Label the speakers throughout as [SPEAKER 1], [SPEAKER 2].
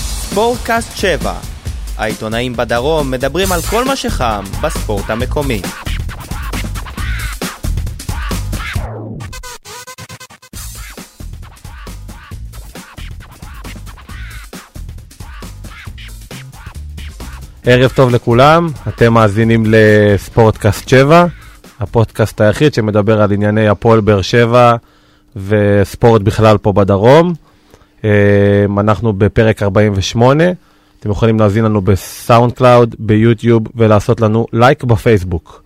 [SPEAKER 1] ספורטקאסט 7. העיתונאים בדרום מדברים על כל מה שחם בספורט המקומי.
[SPEAKER 2] ערב טוב לכולם, אתם מאזינים לספורטקאסט 7, הפודקאסט היחיד שמדבר על ענייני הפועל באר שבע וספורט בכלל פה בדרום. אה, אנחנו בפרק 48, אתם יכולים להזין לנו בסאונד קלאוד, ביוטיוב ולעשות לנו לייק בפייסבוק.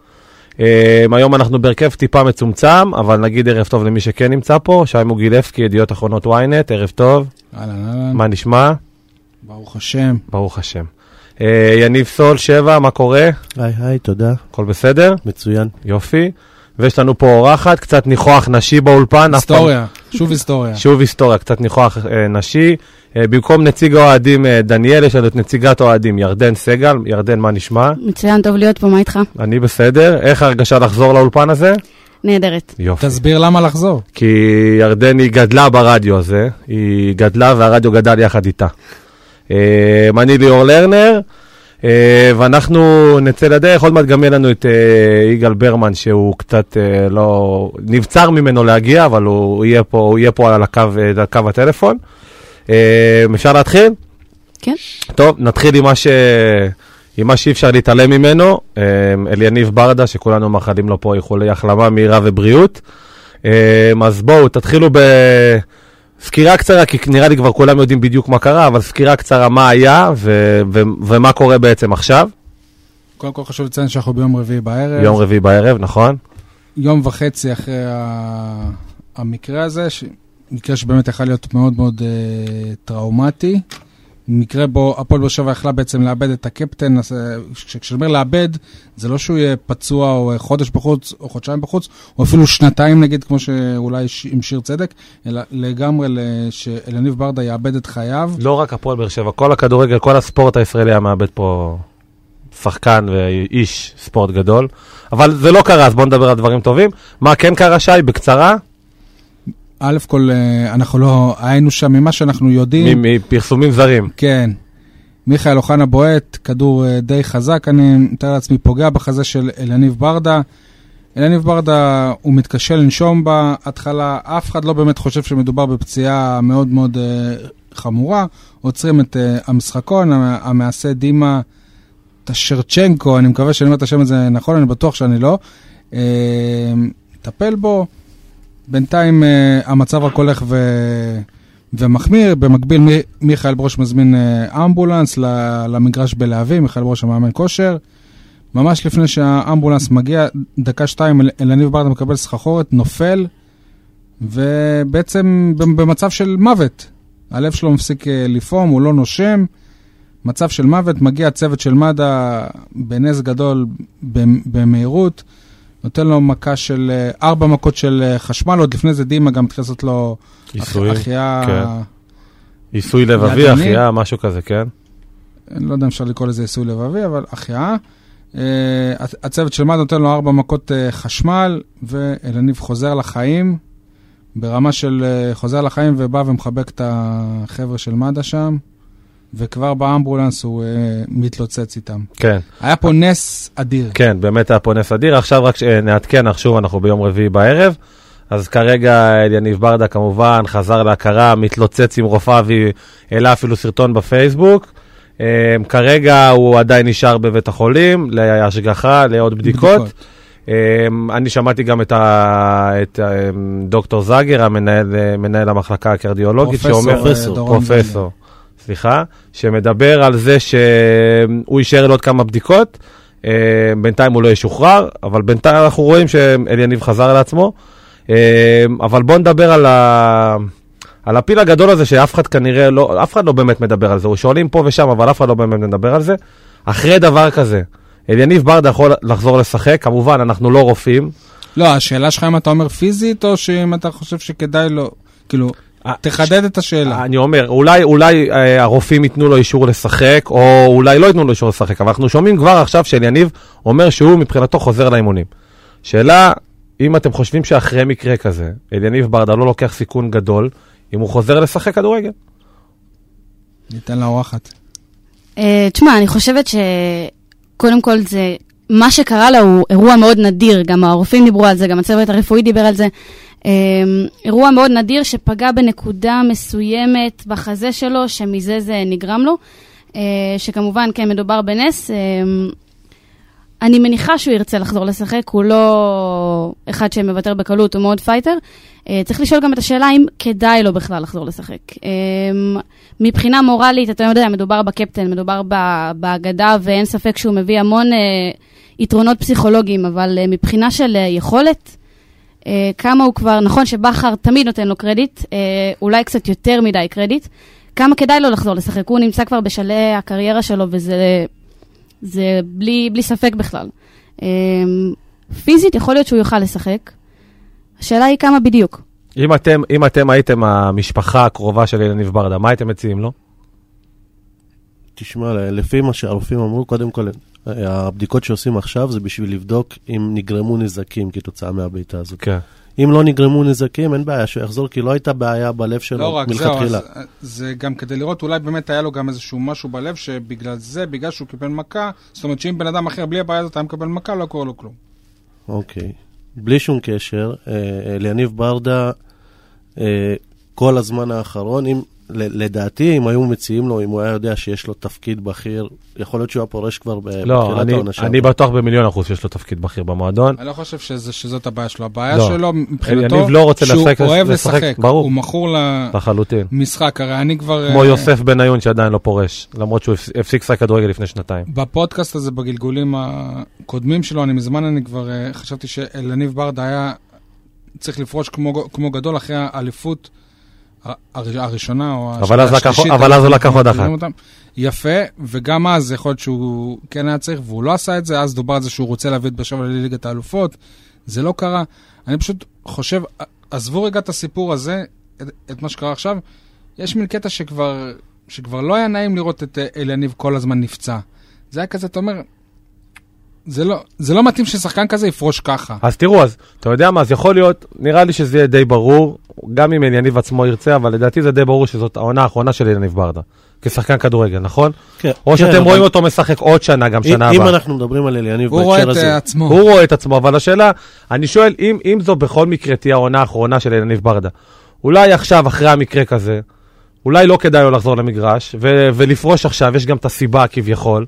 [SPEAKER 2] אה, היום אנחנו בהרכב טיפה מצומצם, אבל נגיד ערב טוב למי שכן נמצא פה, שי מוגילבסקי, ידיעות אחרונות ynet, ערב טוב,
[SPEAKER 3] אהלן, אהלן,
[SPEAKER 2] מה נכון. נשמע?
[SPEAKER 3] ברוך השם.
[SPEAKER 2] ברוך השם. אה, יניב סול, שבע, מה קורה?
[SPEAKER 4] היי היי, תודה,
[SPEAKER 2] הכל בסדר?
[SPEAKER 4] מצוין.
[SPEAKER 2] יופי. ויש לנו פה אורחת, קצת ניחוח נשי באולפן. אף פעם-
[SPEAKER 3] היסטוריה, שוב היסטוריה.
[SPEAKER 2] שוב היסטוריה, קצת ניחוח אה, נשי. אה, במקום נציג האוהדים אה, דניאל, יש לנו את נציגת האוהדים ירדן סגל. ירדן, מה נשמע?
[SPEAKER 5] מצוין, טוב להיות פה, מה איתך?
[SPEAKER 2] אני בסדר. איך ההרגשה לחזור לאולפן הזה?
[SPEAKER 5] נהדרת.
[SPEAKER 2] יופי.
[SPEAKER 3] תסביר למה לחזור.
[SPEAKER 2] כי ירדן היא גדלה ברדיו הזה, היא גדלה והרדיו גדל יחד איתה. אה, אני ליאור לרנר, אה, ואנחנו נצא לדרך, עוד מעט גם יהיה לנו את אה, יגאל ברמן, שהוא קצת אה, לא... נבצר ממנו להגיע, אבל הוא יהיה פה, הוא יהיה פה על הקו, אה, על קו הטלפון. אה, אפשר להתחיל?
[SPEAKER 5] כן.
[SPEAKER 2] טוב, נתחיל עם מה, ש... עם מה שאי אפשר להתעלם ממנו, אה, אליניב ברדה, שכולנו מאחלים לו פה איחולי החלמה מהירה ובריאות. אה, אז בואו, תתחילו בסקירה קצרה, כי נראה לי כבר כולם יודעים בדיוק מה קרה, אבל סקירה קצרה מה היה ו- ו- ומה קורה בעצם עכשיו,
[SPEAKER 3] קודם כל חשוב לציין שאנחנו ביום רביעי בערב.
[SPEAKER 2] יום רביעי בערב, נכון?
[SPEAKER 3] יום וחצי אחרי ה- המקרה הזה, ש- מקרה שבאמת יכול להיות מאוד מאוד אה, טראומטי. מקרה בו הפועל באר שבע יכלה בעצם לאבד את הקפטן, אז, אה, כש- כשאני אומר לאבד, זה לא שהוא יהיה פצוע או אה, חודש בחוץ או חודשיים בחוץ, או אפילו שנתיים נגיד, כמו שאולי ש- עם שיר צדק, אלא לגמרי ל- שאלניב ברדה יאבד את חייו.
[SPEAKER 2] לא רק הפועל באר שבע, כל הכדורגל, כל הספורט הישראלי היה מאבד פה שחקן ואיש ספורט גדול, אבל זה לא קרה, אז בואו נדבר על דברים טובים. מה כן קרה, שי? בקצרה,
[SPEAKER 3] א' כל, אה, אנחנו לא היינו שם ממה שאנחנו
[SPEAKER 2] מ-
[SPEAKER 3] יודעים.
[SPEAKER 2] מפרסומים זרים.
[SPEAKER 3] כן. מיכאל אוחנה בועט, כדור אה, די חזק, אני מתאר לעצמי, פוגע בחזה של אלניב ברדה. אלניב ברדה, הוא מתקשה לנשום בהתחלה, אף אחד לא באמת חושב שמדובר בפציעה מאוד מאוד אה, חמורה. עוצרים את אה, המשחקון, המ- המעשה דימה טשרצ'נקו, אני מקווה שאני אומר את השם הזה נכון, אני בטוח שאני לא. אה, מטפל בו. בינתיים אה, המצב רק הולך ו... ומחמיר. במקביל, מי- מיכאל ברוש מזמין אה, אמבולנס ל- למגרש בלהבים, מיכאל ברוש המאמן כושר. ממש לפני שהאמבולנס מגיע, דקה-שתיים, אל- אלניב ברדה מקבל סחחורת, נופל, ובעצם במ- במצב של מוות. הלב שלו מפסיק אה, לפעום, הוא לא נושם. מצב של מוות, מגיע צוות של מד"א בנס גדול, במ- במהירות. נותן לו מכה של, אה, ארבע מכות של אה, חשמל, עוד לפני זה דימה גם התחיל לעשות לו
[SPEAKER 2] עיסוי,
[SPEAKER 3] החייאה,
[SPEAKER 2] כן. עיסוי לבבי,
[SPEAKER 3] ידני.
[SPEAKER 2] החייאה, משהו כזה, כן?
[SPEAKER 3] אני לא יודע אם אפשר לקרוא לזה עיסוי לבבי, אבל החייאה. אה, הצ- הצוות של מד"א נותן לו ארבע מכות אה, חשמל, ואלניב חוזר לחיים, ברמה של אה, חוזר לחיים ובא ומחבק את החבר'ה של מד"א שם, וכבר באמבולנס הוא אה, מתלוצץ איתם.
[SPEAKER 2] כן.
[SPEAKER 3] היה פה נס אדיר.
[SPEAKER 2] כן, באמת היה פה נס אדיר. עכשיו רק ש- אה, נעדכן, אך שוב אנחנו ביום רביעי בערב. אז כרגע אליניב ברדה כמובן חזר להכרה, מתלוצץ עם רופאה והעלה אפילו סרטון בפייסבוק. אה, כרגע הוא עדיין נשאר בבית החולים להשגחה, לעוד בדיקות. אמ, אני שמעתי גם את, ה, את אמ, דוקטור זאגר, המנהל אה, מנהל המחלקה הקרדיולוגית,
[SPEAKER 3] פרופסור,
[SPEAKER 2] שאומר,
[SPEAKER 3] אה, פרופסור. דורון
[SPEAKER 2] פרופסור, סליחה, שמדבר על זה שהוא יישאר לעוד כמה בדיקות, אמ, בינתיים הוא לא ישוחרר, אבל בינתיים אנחנו רואים שאליניב חזר על עצמו. אמ, אבל בואו נדבר על, ה, על הפיל הגדול הזה, שאף אחד כנראה לא, אף אחד לא באמת מדבר על זה, הוא שואלים פה ושם, אבל אף אחד לא באמת מדבר על זה. אחרי דבר כזה, אליניב ברדה יכול לחזור לשחק, כמובן, אנחנו לא רופאים.
[SPEAKER 3] לא, השאלה שלך אם אתה אומר פיזית, או שאם אתה חושב שכדאי לו, כאילו,
[SPEAKER 2] אה,
[SPEAKER 3] תחדד את השאלה.
[SPEAKER 2] אני אומר, אולי, אולי אה, הרופאים ייתנו לו אישור לשחק, או אולי לא ייתנו לו אישור לשחק, אבל אנחנו שומעים כבר עכשיו שאליניב אומר שהוא מבחינתו חוזר לאימונים. שאלה, אם אתם חושבים שאחרי מקרה כזה, אליניב ברדה לא לוקח סיכון גדול, אם הוא חוזר לשחק כדורגל.
[SPEAKER 3] ניתן לאורחת.
[SPEAKER 5] אה, תשמע, אני חושבת שקודם כל זה, מה שקרה לה הוא אירוע מאוד נדיר, גם הרופאים דיברו על זה, גם הצוות הרפואי דיבר על זה. אה, אירוע מאוד נדיר שפגע בנקודה מסוימת בחזה שלו, שמזה זה נגרם לו, אה, שכמובן, כן, מדובר בנס. אה, אני מניחה שהוא ירצה לחזור לשחק, הוא לא אחד שמוותר בקלות, הוא מאוד פייטר. אה, צריך לשאול גם את השאלה אם כדאי לו בכלל לחזור לשחק. אה, מבחינה מורלית, אתה יודע, מדובר בקפטן, מדובר ב- בהגדה, ואין ספק שהוא מביא המון אה, יתרונות פסיכולוגיים, אבל אה, מבחינה של אה, יכולת, אה, כמה הוא כבר, נכון שבכר תמיד נותן לו קרדיט, אה, אולי קצת יותר מדי קרדיט, כמה כדאי לו לחזור לשחק. הוא נמצא כבר בשלהי הקריירה שלו, וזה זה בלי, בלי ספק בכלל. אה, פיזית, יכול להיות שהוא יוכל לשחק. השאלה היא כמה בדיוק.
[SPEAKER 2] אם אתם, אם אתם הייתם המשפחה הקרובה של אילניב ברדה, מה הייתם מציעים לו?
[SPEAKER 4] תשמע, לפי מה שהרופאים אמרו, קודם כל, הבדיקות שעושים עכשיו זה בשביל לבדוק אם נגרמו נזקים כתוצאה מהבעיטה הזאת.
[SPEAKER 2] כן.
[SPEAKER 4] אם לא נגרמו נזקים, אין בעיה שהוא יחזור, כי לא הייתה בעיה בלב
[SPEAKER 3] לא
[SPEAKER 4] שלו
[SPEAKER 3] רק, זהו, אז,
[SPEAKER 4] מלכתחילה.
[SPEAKER 3] אה, זה גם כדי לראות, אולי באמת היה לו גם איזשהו משהו בלב, שבגלל זה, בגלל שהוא קיבל מכה, זאת אומרת שאם בן אדם אחר בלי הבעיה הזאת היה מקבל מכה, לא קורה לו כלום.
[SPEAKER 4] אוקיי. בלי שום קשר, אה, אה, ליניב ברדה, אה, כל הזמן האחרון, אם, ל- לדעתי, אם היו מציעים לו, אם הוא היה יודע שיש לו תפקיד בכיר, יכול להיות שהוא היה פורש כבר ב-
[SPEAKER 2] לא, אני, אני בטוח במיליון אחוז שיש לו תפקיד בכיר במועדון.
[SPEAKER 3] אני לא חושב שזה, שזאת הבעיה שלו. הבעיה
[SPEAKER 2] לא.
[SPEAKER 3] שלו, מבחינתו,
[SPEAKER 2] יניב לא רוצה
[SPEAKER 3] שהוא
[SPEAKER 2] לשחק-
[SPEAKER 3] אוהב
[SPEAKER 2] לשחק,
[SPEAKER 3] לשחק.
[SPEAKER 2] ברור.
[SPEAKER 3] הוא מכור
[SPEAKER 2] אה. לחלוטין.
[SPEAKER 3] למשחק, הרי אני כבר...
[SPEAKER 2] כמו
[SPEAKER 3] אה,
[SPEAKER 2] יוסף בניון שעדיין לא פורש, למרות שהוא הפס- הפסיק לשחק כדורגל לפני שנתיים.
[SPEAKER 3] בפודקאסט הזה, בגלגולים הקודמים שלו, אני מזמן אני כבר אה, חשבתי שאלניב ברדה היה צריך לפרוש כמו, כמו גדול אחרי האליפות הר- הר- הראשונה או
[SPEAKER 2] אבל אז לקח- אבל אז הוא לקח עוד אחת.
[SPEAKER 3] אותם. יפה, וגם אז יכול להיות שהוא כן היה צריך והוא לא עשה את זה, אז דובר על זה שהוא רוצה להביא את באר שבע לליגת האלופות, זה לא קרה. אני פשוט חושב, עזבו רגע את הסיפור הזה, את, את מה שקרה עכשיו, יש מין קטע שכבר, שכבר לא היה נעים לראות את אה, אליניב כל הזמן נפצע. זה היה כזה, אתה אומר, זה לא, זה לא מתאים ששחקן כזה יפרוש ככה.
[SPEAKER 2] אז תראו, אז אתה יודע מה, אז יכול להיות, נראה לי שזה יהיה די ברור, גם אם יניב עצמו ירצה, אבל לדעתי זה די ברור שזאת העונה האחרונה של יניב ברדה, כשחקן כדורגל, נכון?
[SPEAKER 4] כן,
[SPEAKER 2] או
[SPEAKER 4] כן,
[SPEAKER 2] שאתם
[SPEAKER 4] אבל
[SPEAKER 2] רואים אותו משחק עוד שנה, גם שנה
[SPEAKER 4] אם, אם
[SPEAKER 2] הבאה.
[SPEAKER 4] אנחנו מדברים על אליניב
[SPEAKER 3] הוא רואה
[SPEAKER 4] בהקשר
[SPEAKER 3] את
[SPEAKER 4] הזה,
[SPEAKER 3] אה, עצמו.
[SPEAKER 2] הוא רואה את עצמו, אבל השאלה, אני שואל, אם, אם זו בכל מקרה תהיה העונה האחרונה של יניב ברדה, אולי עכשיו, אחרי המקרה כזה, אולי לא כדאי לו לחזור למגרש, ו- ולפרוש עכשיו, יש גם את הסיבה כביכול,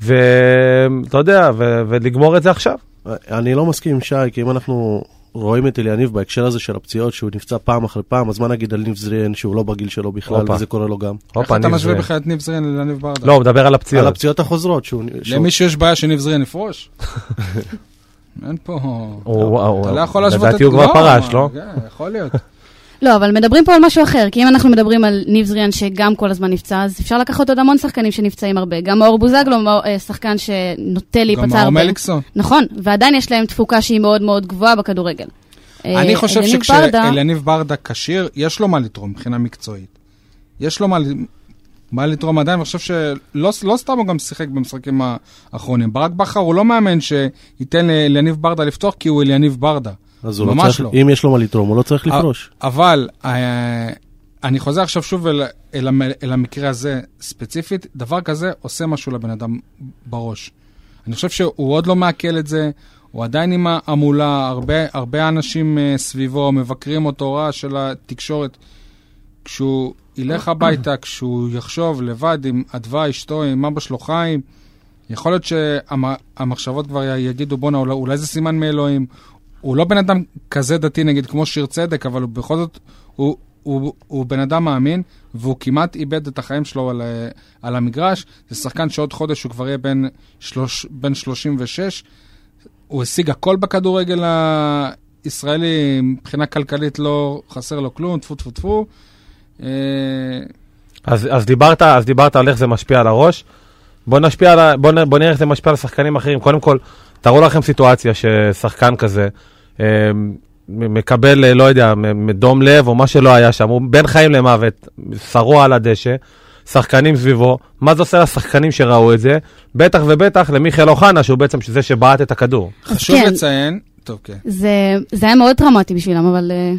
[SPEAKER 2] ואתה יודע, ו- ולגמור את זה עכשיו.
[SPEAKER 4] אני לא מסכים עם שי, כי אם אנחנו רואים את אליניב בהקשר הזה של הפציעות, שהוא נפצע פעם אחרי פעם, אז מה נגיד על ניב זריאן, שהוא לא בגיל שלו בכלל,
[SPEAKER 2] הופה.
[SPEAKER 4] וזה קורה לו גם.
[SPEAKER 3] איך
[SPEAKER 2] הופה,
[SPEAKER 3] אתה
[SPEAKER 2] ניב
[SPEAKER 3] משווה
[SPEAKER 2] זריאן.
[SPEAKER 3] בכלל את ניב זרין לאלניב ברדה?
[SPEAKER 2] לא, הוא מדבר על הפציעות.
[SPEAKER 4] על הפציעות החוזרות, שהוא... שהוא-
[SPEAKER 3] למישהו יש בעיה שניב זרין יפרוש? אין פה...
[SPEAKER 2] הוא- הוא-
[SPEAKER 3] אתה לא יכול להשוות את...
[SPEAKER 2] לדעתי הוא כבר פרש,
[SPEAKER 3] מה-
[SPEAKER 2] לא?
[SPEAKER 3] כן, יכול להיות.
[SPEAKER 5] לא, אבל מדברים פה על משהו אחר, כי אם אנחנו מדברים על ניב זריאן שגם כל הזמן נפצע, אז אפשר לקחת עוד המון שחקנים שנפצעים הרבה. גם מאור בוזגלו הוא אה, שחקן שנוטה להיפצע
[SPEAKER 3] גם
[SPEAKER 5] הרבה.
[SPEAKER 3] מאור מליקסון.
[SPEAKER 5] נכון, ועדיין יש להם תפוקה שהיא מאוד מאוד גבוהה בכדורגל. אה,
[SPEAKER 3] אני חושב
[SPEAKER 5] אליניב ברדה-
[SPEAKER 3] שכשאלניב ברדה כשיר, יש לו מה לתרום מבחינה מקצועית. יש לו מה, ל- מה לתרום עדיין, אני חושב שלא לא סתם הוא גם שיחק במשחקים האחרונים. ברק בכר הוא לא מאמן שייתן לאליניב ברדה לפתוח, כי הוא אליניב ברדה.
[SPEAKER 4] אז הוא לא
[SPEAKER 3] ממש
[SPEAKER 4] צריך,
[SPEAKER 3] לא.
[SPEAKER 4] אם יש לו מה לתרום, הוא לא צריך לפרוש.
[SPEAKER 3] אבל אה, אני חוזר עכשיו שוב אל, אל, המ- אל המקרה הזה ספציפית, דבר כזה עושה משהו לבן אדם בראש. אני חושב שהוא עוד לא מעכל את זה, הוא עדיין עם ההמולה, הרבה, הרבה אנשים אה, סביבו מבקרים אותו רע של התקשורת. כשהוא ילך הביתה, כשהוא יחשוב לבד עם אדווה, אשתו, עם אבא שלו חיים, יכול להיות שהמחשבות כבר י- יגידו, בואנה, אולי, אולי זה סימן מאלוהים. הוא לא בן אדם כזה דתי, נגיד, כמו שיר צדק, אבל הוא בכל זאת, הוא, הוא, הוא בן אדם מאמין, והוא כמעט איבד את החיים שלו על, ה- על המגרש. זה שחקן שעוד חודש הוא כבר יהיה בן, שלוש, בן 36. הוא השיג הכל בכדורגל הישראלי, מבחינה כלכלית לא חסר לו כלום, טפו טפו טפו. אה,
[SPEAKER 2] אז, אז, דיברת, אז דיברת על איך זה משפיע על הראש. בוא, נשפיע על, ה- בוא, נ- בוא נראה איך זה משפיע על שחקנים אחרים. קודם כל, תארו לכם סיטואציה ששחקן כזה אה, מ- מקבל, אה, לא יודע, מ- מ- דום לב או מה שלא היה שם, הוא בין חיים למוות, שרוע על הדשא, שחקנים סביבו, מה זה עושה לשחקנים שראו את זה? בטח ובטח למיכאל אוחנה, שהוא בעצם זה שבעט את הכדור.
[SPEAKER 5] אז
[SPEAKER 3] חשוב
[SPEAKER 5] כן.
[SPEAKER 3] לציין, טוב, כן.
[SPEAKER 5] זה, זה היה מאוד טראומטי בשבילם, אבל... אה,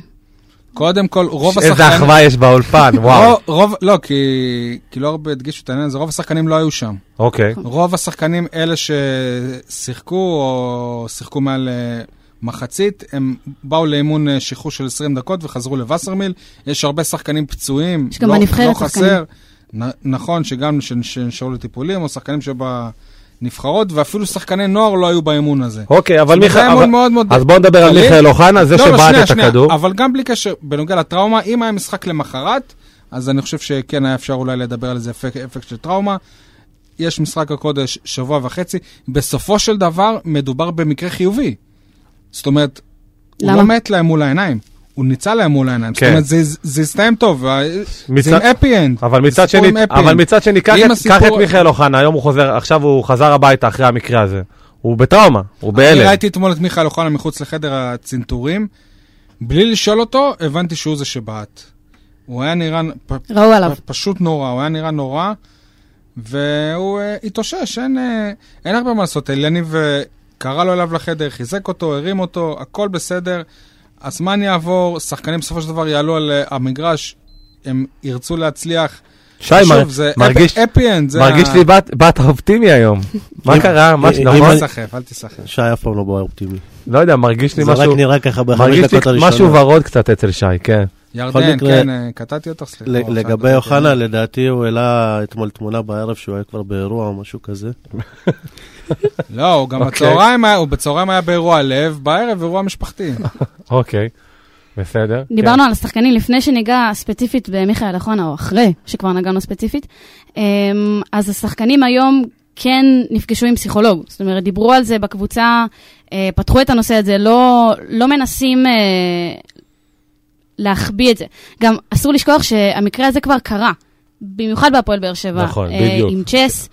[SPEAKER 3] קודם כל, רוב השחקנים...
[SPEAKER 2] איזה אחווה יש באולפן, וואו.
[SPEAKER 3] רוב- רוב, לא, כי, כי לא הרבה הדגישו את העניין הזה, רוב השחקנים לא היו שם.
[SPEAKER 2] אוקיי,
[SPEAKER 3] רוב השחקנים, אלה ששיחקו או שיחקו מעל אה, מחצית, הם באו לאימון אה, שחרור של 20 דקות וחזרו לווסרמיל. יש הרבה שחקנים פצועים,
[SPEAKER 5] יש גם
[SPEAKER 3] לא,
[SPEAKER 5] בנבחרת
[SPEAKER 3] לא
[SPEAKER 5] שחקנים.
[SPEAKER 3] חסר. נ, נכון שגם שנ- שנשארו לטיפולים, או שחקנים שבנבחרות, ואפילו שחקני נוער לא היו באימון הזה.
[SPEAKER 2] אוקיי, אבל
[SPEAKER 3] זה
[SPEAKER 2] מיכאל...
[SPEAKER 3] היה אימון
[SPEAKER 2] אבל-
[SPEAKER 3] מאוד מאוד
[SPEAKER 2] אז בואו נדבר על
[SPEAKER 3] כללי.
[SPEAKER 2] מיכאל אוחנה, זה
[SPEAKER 3] לא, לא,
[SPEAKER 2] שבעט
[SPEAKER 3] שנייה,
[SPEAKER 2] את
[SPEAKER 3] שנייה,
[SPEAKER 2] הכדור.
[SPEAKER 3] אבל גם בלי קשר, בנוגע לטראומה, אם היה משחק למחרת, אז אני חושב שכן היה אפשר אולי לדבר על איזה אפק, אפקט של טראומה. יש משחק הקודש שבוע וחצי, בסופו של דבר מדובר במקרה חיובי. זאת אומרת, הוא
[SPEAKER 5] למה?
[SPEAKER 3] לא מת להם מול העיניים, הוא ניצל להם מול העיניים.
[SPEAKER 2] כן.
[SPEAKER 3] זאת אומרת, זה- זה הסתיים טוב, וה-
[SPEAKER 2] מצד-
[SPEAKER 3] זה עם אפי אנד.
[SPEAKER 2] אבל מצד שני, אבל מצד שני, קח
[SPEAKER 3] ואם
[SPEAKER 2] את- קח את
[SPEAKER 3] הסיפור-
[SPEAKER 2] מיכאל אוחנה, היום הוא חוזר, עכשיו הוא חזר הביתה אחרי המקרה הזה. הוא בטראומה, הוא
[SPEAKER 3] אני
[SPEAKER 2] בהלם.
[SPEAKER 3] ראיתי אתמול את מיכאל אוחנה מחוץ לחדר הצנתורים. בלי לשאול אותו, הבנתי שהוא זה שבעט. הוא היה נראה פ-
[SPEAKER 5] ראו עליו.
[SPEAKER 3] פ- פשוט נורא, הוא היה נראה נורא, והוא אה, התאושש, אין, אה, אין הרבה מה לעשות. אליניב אה, קרא לו אליו לחדר, חיזק אותו, הרים אותו, הכל בסדר. הזמן יעבור, שחקנים בסופו של דבר יעלו על אה, המגרש, הם ירצו להצליח.
[SPEAKER 2] שי,
[SPEAKER 3] שוב,
[SPEAKER 2] מר-
[SPEAKER 3] זה
[SPEAKER 2] מרגיש-
[SPEAKER 3] אפי-אנד, זה
[SPEAKER 2] מרגיש
[SPEAKER 3] ה-
[SPEAKER 2] לי בת- בת אופטימי היום. מה קרה? מה
[SPEAKER 4] אם-
[SPEAKER 2] נכון?
[SPEAKER 3] אל
[SPEAKER 4] אני-
[SPEAKER 3] תסחף, אל תסחף.
[SPEAKER 4] שי אף פעם לא בא אופטימי.
[SPEAKER 2] לא יודע, מרגיש לי
[SPEAKER 4] זה רק
[SPEAKER 2] משהו...
[SPEAKER 4] נראה ככה בחמש
[SPEAKER 2] מרגיש לי
[SPEAKER 4] דקות הראשונות.
[SPEAKER 2] משהו ורוד קצת אצל שי, כן.
[SPEAKER 3] ירדן,
[SPEAKER 4] מקרה-
[SPEAKER 3] כן, אה, קטעתי אותך, סליחה.
[SPEAKER 4] ל-
[SPEAKER 2] לא,
[SPEAKER 3] עכשיו
[SPEAKER 4] לגבי
[SPEAKER 3] אתה-
[SPEAKER 4] אוחנה, לדעתי הוא העלה אתמול תמונה בערב שהוא היה כבר באירוע או משהו כזה.
[SPEAKER 3] לא, הוא גם
[SPEAKER 2] אוקיי.
[SPEAKER 3] בצהריים היה- הוא בצהריים היה באירוע לב, בערב אירוע משפחתי.
[SPEAKER 2] אוקיי, בסדר. כן.
[SPEAKER 5] דיברנו על השחקנים לפני שניגע ספציפית במיכאל אוחנה, או אחרי שכבר נגענו ספציפית. אמ, אז השחקנים היום כן נפגשו עם פסיכולוג. זאת אומרת, דיברו על זה בקבוצה, אה, פתחו את הנושא הזה, לא, לא מנסים אה, להחביא את זה. גם אסור לשכוח שהמקרה הזה כבר קרה, במיוחד בהפועל באר שבע.
[SPEAKER 2] נכון,
[SPEAKER 5] אה,
[SPEAKER 2] בדיוק.
[SPEAKER 5] עם צ'ס.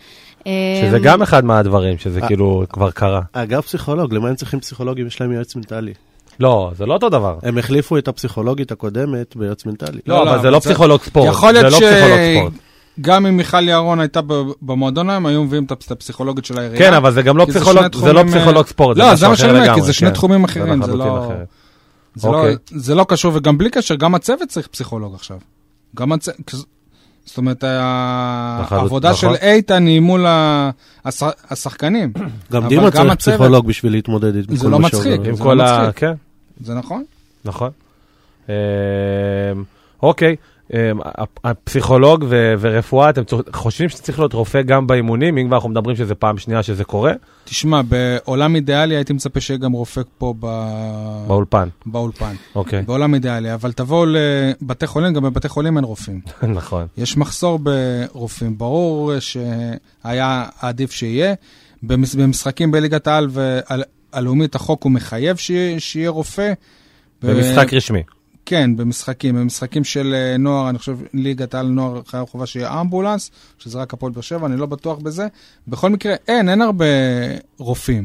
[SPEAKER 5] אמ,
[SPEAKER 2] כן. שזה גם אחד מהדברים, שזה
[SPEAKER 4] אה.
[SPEAKER 2] כאילו כבר קרה.
[SPEAKER 4] אגב, פסיכולוג, למה הם צריכים פסיכולוגים? יש להם יועץ מנטלי.
[SPEAKER 2] לא, זה לא אותו דבר.
[SPEAKER 4] הם החליפו את הפסיכולוגית הקודמת ביועץ מנטלי.
[SPEAKER 2] לא, אבל זה לא פסיכולוג ספורט.
[SPEAKER 3] יכול להיות
[SPEAKER 2] זה לא פסיכולוג ספורט.
[SPEAKER 3] שגם אם מיכל יערון הייתה ב- במועדון היום, היו מביאים את הפס- את הפסיכולוגית של העירייה.
[SPEAKER 2] כן, אבל זה גם לא
[SPEAKER 3] אה, כי זה
[SPEAKER 2] פסיכולוג,
[SPEAKER 3] שני
[SPEAKER 2] זה לא
[SPEAKER 3] תחומים,
[SPEAKER 2] פסיכולוג
[SPEAKER 3] אה,
[SPEAKER 2] ספורט,
[SPEAKER 3] לא, זה
[SPEAKER 2] משהו
[SPEAKER 3] מה
[SPEAKER 2] אחר
[SPEAKER 3] שאני אומר, כי
[SPEAKER 2] לגמרי,
[SPEAKER 3] זה שני
[SPEAKER 2] כן.
[SPEAKER 3] תחומים אחרים, זה
[SPEAKER 2] לחלוטין
[SPEAKER 3] לא-
[SPEAKER 2] אחרת.
[SPEAKER 3] זה לא-
[SPEAKER 2] אוקיי.
[SPEAKER 3] זה לא קשור, וגם בלי קשר, גם הצוות צריך פסיכולוג עכשיו. גם הצוות... זאת אומרת, ה-
[SPEAKER 2] לחלוט-
[SPEAKER 3] העבודה של
[SPEAKER 2] נכון.
[SPEAKER 3] איתן היא מול ה- הש- השחקנים.
[SPEAKER 4] גם
[SPEAKER 3] אבל
[SPEAKER 4] דימה
[SPEAKER 3] גם
[SPEAKER 4] צריך
[SPEAKER 3] הצוות-
[SPEAKER 4] פסיכולוג בשביל להתמודד עם כל מה
[SPEAKER 3] זה לא מצחיק.
[SPEAKER 4] שעובר.
[SPEAKER 2] עם
[SPEAKER 3] זה
[SPEAKER 2] כל
[SPEAKER 3] לא
[SPEAKER 2] ה...
[SPEAKER 3] מצחיק.
[SPEAKER 2] כן,
[SPEAKER 3] זה נכון?
[SPEAKER 2] נכון. אמ, אוקיי, אמ, ה- הפסיכולוג ו- ורפואה, אתם צור- חושבים שצריך להיות רופא גם באימונים, אם כבר אנחנו מדברים שזה פעם שנייה שזה קורה,
[SPEAKER 3] תשמע, בעולם אידיאלי הייתי מצפה שיהיה גם רופא פה ב-
[SPEAKER 2] באולפן.
[SPEAKER 3] באולפן.
[SPEAKER 2] אוקיי,
[SPEAKER 3] בעולם אידיאלי, אבל תבואו לבתי חולים, גם בבתי חולים אין רופאים.
[SPEAKER 2] נכון.
[SPEAKER 3] יש מחסור ברופאים, ברור שהיה עדיף שיהיה. במש- במשחקים בליגת העל והלאומית החוק הוא מחייב שיהיה, שיהיה רופא.
[SPEAKER 2] במשחק
[SPEAKER 3] ו-
[SPEAKER 2] רשמי.
[SPEAKER 3] כן, במשחקים. במשחקים של אה, נוער, אני חושב, ליגת העל נוער חייב חובה שיהיה אמבולנס, שזה רק הפועל באר שבע, אני לא בטוח בזה. בכל מקרה, אין, אין הרבה רופאים.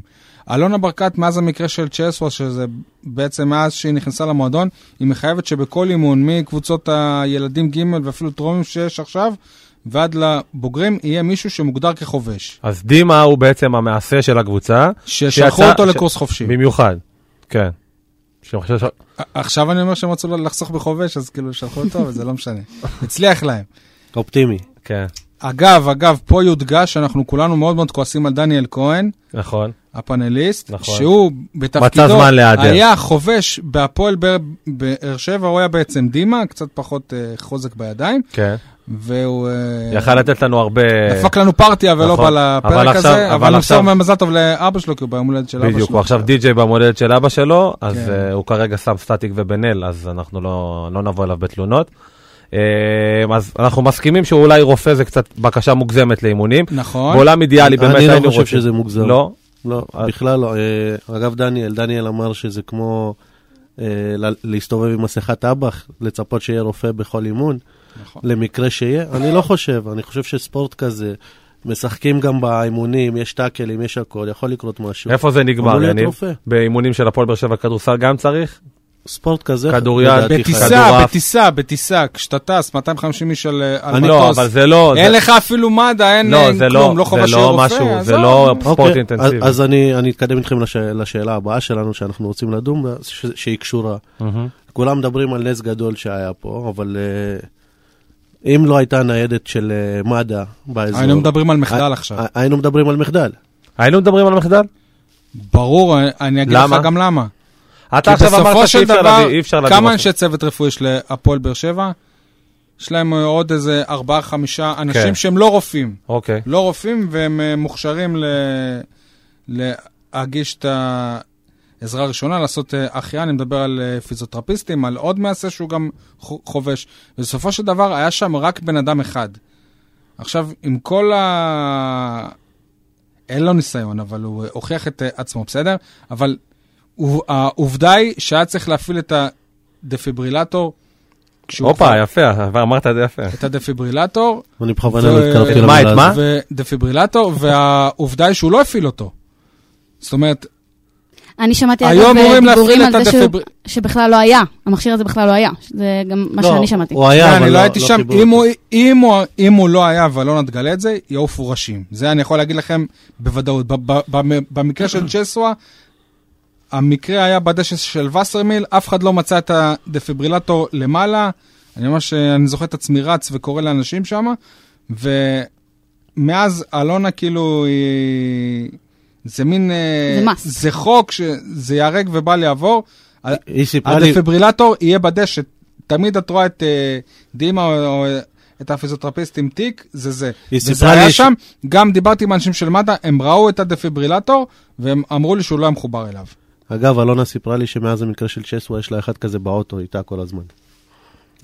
[SPEAKER 3] אלונה ברקת, מאז המקרה של צ'סווה, שזה בעצם מאז שהיא נכנסה למועדון, היא מחייבת שבכל אימון, מקבוצות הילדים ג' ואפילו טרומים שיש עכשיו, ועד לבוגרים, יהיה מישהו שמוגדר כחובש.
[SPEAKER 2] אז דימה הוא בעצם המעשה של הקבוצה,
[SPEAKER 3] ששלחו
[SPEAKER 2] שיצא-
[SPEAKER 3] אותו
[SPEAKER 2] ש-
[SPEAKER 3] לקורס חופשי.
[SPEAKER 2] במיוחד. כן. שאני חושב ש-
[SPEAKER 3] עכשיו אני אומר שהם רצו לחסוך בחובש, אז כאילו שלחו אותו, אבל זה לא משנה. הצליח להם.
[SPEAKER 4] אופטימי.
[SPEAKER 2] כן,
[SPEAKER 3] אגב, אגב, פה יודגש שאנחנו כולנו מאוד מאוד כועסים על דניאל כהן,
[SPEAKER 2] נכון.
[SPEAKER 3] הפאנליסט,
[SPEAKER 2] נכון.
[SPEAKER 3] שהוא
[SPEAKER 2] מצא
[SPEAKER 3] בתפקידו
[SPEAKER 2] זמן להיעדר.
[SPEAKER 3] היה חובש בהפועל באר- באר שבע, הוא היה בעצם דימה, קצת פחות אה, חוזק בידיים,
[SPEAKER 2] כן.
[SPEAKER 3] והוא אה,
[SPEAKER 2] יכל לתת לנו הרבה...
[SPEAKER 3] דפק לנו פרטיה ולא
[SPEAKER 2] אה, נכון.
[SPEAKER 3] בא
[SPEAKER 2] אבל
[SPEAKER 3] לפרק
[SPEAKER 2] עכשיו-
[SPEAKER 3] הזה,
[SPEAKER 2] אבל
[SPEAKER 3] אבל נמסור
[SPEAKER 2] עכשיו-
[SPEAKER 3] מזל טוב לאבא שלו, כי הוא ביום הולדת של אבא שלו.
[SPEAKER 2] בדיוק, הוא עכשיו די-ג'יי במולדת של אבא שלו, אז
[SPEAKER 3] כן.
[SPEAKER 2] אה, הוא כרגע שם סטטיק ובן אל, אז אנחנו לא לא נבוא אליו בתלונות. אה, אז אנחנו מסכימים שאולי רופא זה קצת בקשה מוגזמת לאימונים.
[SPEAKER 3] נכון.
[SPEAKER 2] בעולם אידיאלי באמת
[SPEAKER 4] אני
[SPEAKER 2] היינו רוצים.
[SPEAKER 4] לא חושב שזה מוגזם.
[SPEAKER 2] לא?
[SPEAKER 4] לא,
[SPEAKER 2] אז-
[SPEAKER 4] בכלל לא. אה, אגב, דניאל, דניאל אמר שזה כמו אה, לה- להסתובב עם מסכת אב"ח, לצפות שיהיה רופא בכל אימון,
[SPEAKER 3] נכון.
[SPEAKER 4] למקרה שיהיה. אני לא חושב, אני חושב שספורט כזה, משחקים גם באימונים, יש טאקלים, יש הכל, יכול לקרות משהו.
[SPEAKER 2] איפה זה
[SPEAKER 4] אמור
[SPEAKER 2] נגמר,
[SPEAKER 4] להיות
[SPEAKER 2] יניב?
[SPEAKER 4] רופא.
[SPEAKER 2] באימונים של הפועל באר שבע כדורסל גם צריך?
[SPEAKER 4] ספורט כזה,
[SPEAKER 2] כדורעד,
[SPEAKER 4] לדעתי, חייב.
[SPEAKER 2] כדורעף.
[SPEAKER 3] בטיסה, בטיסה, בטיסה, כשאתה טס, 250 איש על אה, על
[SPEAKER 2] אני לא,
[SPEAKER 3] מטוס.
[SPEAKER 2] אבל זה לא...
[SPEAKER 3] אין
[SPEAKER 2] זה-
[SPEAKER 3] לך אפילו מד"א, אין
[SPEAKER 2] לא,
[SPEAKER 3] אין
[SPEAKER 2] זה
[SPEAKER 3] כלום,
[SPEAKER 2] לא,
[SPEAKER 3] לא חובה
[SPEAKER 2] זה
[SPEAKER 3] שיהיה
[SPEAKER 2] לא
[SPEAKER 3] רופא.
[SPEAKER 2] משהו, זה
[SPEAKER 3] עזוב.
[SPEAKER 2] לא ספורט
[SPEAKER 4] אוקיי,
[SPEAKER 2] אינטנסיבי.
[SPEAKER 4] אז, אז אני, אני אתקדם איתכם לש, לשאלה הבאה שלנו, שאנחנו רוצים לדון בה, ש, שהיא קשורה.
[SPEAKER 2] מהמם.
[SPEAKER 4] כולם מדברים על נס גדול שהיה פה, אבל אה, אם לא הייתה ניידת של אה, מד"א באזור...
[SPEAKER 2] לא-
[SPEAKER 3] היינו מדברים על מחדל
[SPEAKER 2] אה,
[SPEAKER 4] הי-
[SPEAKER 3] עכשיו.
[SPEAKER 4] הי- היינו מדברים על מחדל.
[SPEAKER 2] היינו מדברים על המחדל?
[SPEAKER 3] ברור, אני אגיד לך
[SPEAKER 2] למה?
[SPEAKER 3] גם למה.
[SPEAKER 2] אתה
[SPEAKER 3] כי
[SPEAKER 2] עכשיו
[SPEAKER 3] בסופו
[SPEAKER 2] אמרת שאי
[SPEAKER 3] של
[SPEAKER 2] אפשר
[SPEAKER 3] דבר,
[SPEAKER 2] להביא, אי אפשר להביא
[SPEAKER 3] כמה
[SPEAKER 2] משהו.
[SPEAKER 3] אנשי צוות רפואי יש להפועל באר שבע? יש להם עוד איזה ארבעה, חמישה
[SPEAKER 2] כן.
[SPEAKER 3] אנשים שהם לא רופאים.
[SPEAKER 2] אוקיי.
[SPEAKER 3] לא רופאים, והם אה, מוכשרים ל- להגיש את העזרה הראשונה, לעשות אה, החייאה, אני מדבר על אה, פיזיותרפיסטים, על עוד מעשה שהוא גם חו- חובש. בסופו של דבר היה שם רק בן אדם אחד. עכשיו, עם כל ה... אין לו ניסיון, אבל הוא אה, הוכיח את אה, עצמו, בסדר? אבל הוא- העובדה היא שהיה צריך להפעיל את הדפיברילטור. כשהוא
[SPEAKER 2] הופה,
[SPEAKER 3] כבר-
[SPEAKER 2] יפה, אבל אמרת את זה יפה.
[SPEAKER 3] את הדפיברילטור,
[SPEAKER 4] אני בכוונה
[SPEAKER 3] ו-
[SPEAKER 4] נזכרתי
[SPEAKER 2] מה, את
[SPEAKER 4] למילה
[SPEAKER 2] מה?
[SPEAKER 4] הזאת.
[SPEAKER 3] ודפיברילטור, והעובדה היא שהוא לא הפעיל אותו. זאת אומרת,
[SPEAKER 5] אני שמעתי
[SPEAKER 3] היום אמורים
[SPEAKER 5] דיבורים
[SPEAKER 3] להפעיל
[SPEAKER 5] על
[SPEAKER 3] את
[SPEAKER 5] זה שהוא-
[SPEAKER 3] הדפיבר-
[SPEAKER 5] שבכלל לא היה, המכשיר הזה בכלל לא היה, זה גם מה
[SPEAKER 4] לא,
[SPEAKER 5] שאני שמעתי.
[SPEAKER 4] הוא היה, אבל
[SPEAKER 3] אני לא הייתי שם,
[SPEAKER 4] חיברו
[SPEAKER 3] אם
[SPEAKER 4] אותו.
[SPEAKER 3] הוא- אם הוא- אם הוא לא היה אבל לא נתגלה את זה, יעופו ראשים. זה אני יכול להגיד לכם בוודאות. ב- ב- ב- במקרה של צ'סווה, המקרה היה בדשא של וסרמיל, אף אחד לא מצא את הדפיברילטור למעלה. אני ממש, אה, אני זוכר את עצמי רץ וקורא לאנשים שם, ומאז אלונה כאילו היא... זה מין... אה,
[SPEAKER 5] זה must.
[SPEAKER 3] זה חוק שזה ייהרג ובל יעבור.
[SPEAKER 4] היא סיפרה לי,
[SPEAKER 3] הדפיברילטור יהיה בדשא. תמיד את רואה את אה, דימה או, או את הפיזיותרפיסט עם תיק, זה זה.
[SPEAKER 4] היא
[SPEAKER 3] וזה
[SPEAKER 4] סיפרה
[SPEAKER 3] היה
[SPEAKER 4] לי ש-
[SPEAKER 3] שם, גם דיברתי עם אנשים של מד"א, הם ראו את הדפיברילטור, והם אמרו לי שהוא לא היה מחובר אליו.
[SPEAKER 4] אגב, אלונה סיפרה לי שמאז המקרה של צ'סווה יש לה אחד כזה באוטו איתה כל הזמן.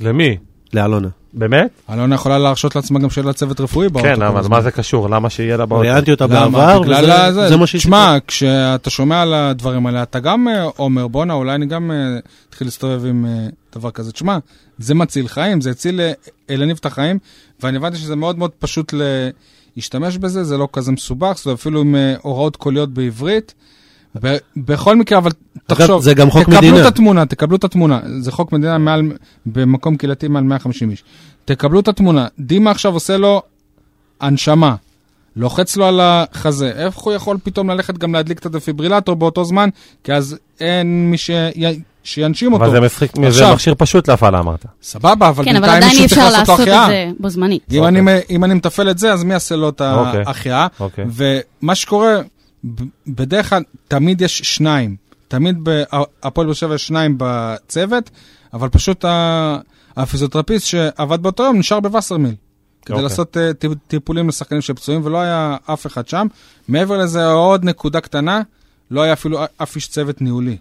[SPEAKER 2] למי?
[SPEAKER 4] לאלונה.
[SPEAKER 2] באמת?
[SPEAKER 3] אלונה לא- יכולה להרשות לעצמה גם שיהיה לה צוות רפואי באוטו.
[SPEAKER 2] כן,
[SPEAKER 3] כל
[SPEAKER 2] אבל
[SPEAKER 3] הזמן.
[SPEAKER 2] מה זה קשור? למה שיהיה לה באוטו?
[SPEAKER 4] ראיינתי אותה
[SPEAKER 3] למה?
[SPEAKER 4] בעבר,
[SPEAKER 3] בגלל
[SPEAKER 4] וזה-
[SPEAKER 3] הזה.
[SPEAKER 4] זה מה שהיא
[SPEAKER 3] תשמע, כשאתה שומע על הדברים האלה, אתה גם אה, אומר, בואנה, אולי אני גם אה, אתחיל להסתובב עם אה, דבר כזה. תשמע, זה מציל חיים, זה הציל אה, אלניב את החיים, ואני הבנתי שזה מאוד מאוד פשוט להשתמש בזה, זה לא כזה מסובך, זה אפילו עם אה, הוראות קוליות בעברית. ב- בכל מקרה, אבל תחשוב,
[SPEAKER 4] זה גם חוק
[SPEAKER 3] תקבלו
[SPEAKER 4] מדינה.
[SPEAKER 3] את התמונה, תקבלו את התמונה. זה חוק מדינה מעל, במקום קהילתי מעל 150 איש. תקבלו את התמונה. דימה עכשיו עושה לו הנשמה. לוחץ לו על החזה. איך הוא יכול פתאום ללכת גם להדליק את הדפיברילטור באותו זמן? כי אז אין מי שי... שינשים אותו.
[SPEAKER 2] אבל זה משחק- זה
[SPEAKER 3] עכשיו-
[SPEAKER 2] מכשיר פשוט להפעלה אמרת.
[SPEAKER 3] סבבה, אבל
[SPEAKER 5] כן, אבל
[SPEAKER 3] בינתיים
[SPEAKER 5] עדיין אי
[SPEAKER 3] מישהו צריך
[SPEAKER 5] אפשר
[SPEAKER 3] לעשות לו
[SPEAKER 5] לעשות את
[SPEAKER 3] החייאה.
[SPEAKER 5] זה בו זמנית.
[SPEAKER 3] אם, אני, אם אני מתפעל את זה, אז מי יעשה לו את
[SPEAKER 2] אוקיי.
[SPEAKER 3] ההחייאה?
[SPEAKER 2] אוקיי.
[SPEAKER 3] ומה שקורה, ב- בדרך כלל תמיד יש שניים. תמיד בהפועל באר שבע יש שניים בצוות, אבל פשוט ה- הפיזיותרפיסט שעבד באותו יום נשאר בווסרמיל. כדי
[SPEAKER 2] אוקיי.
[SPEAKER 3] לעשות אה, טיפ- טיפולים לשחקנים שפצועים, ולא היה אף אחד שם. מעבר לזה, עוד נקודה קטנה, לא היה אפילו אף איש צוות ניהולי.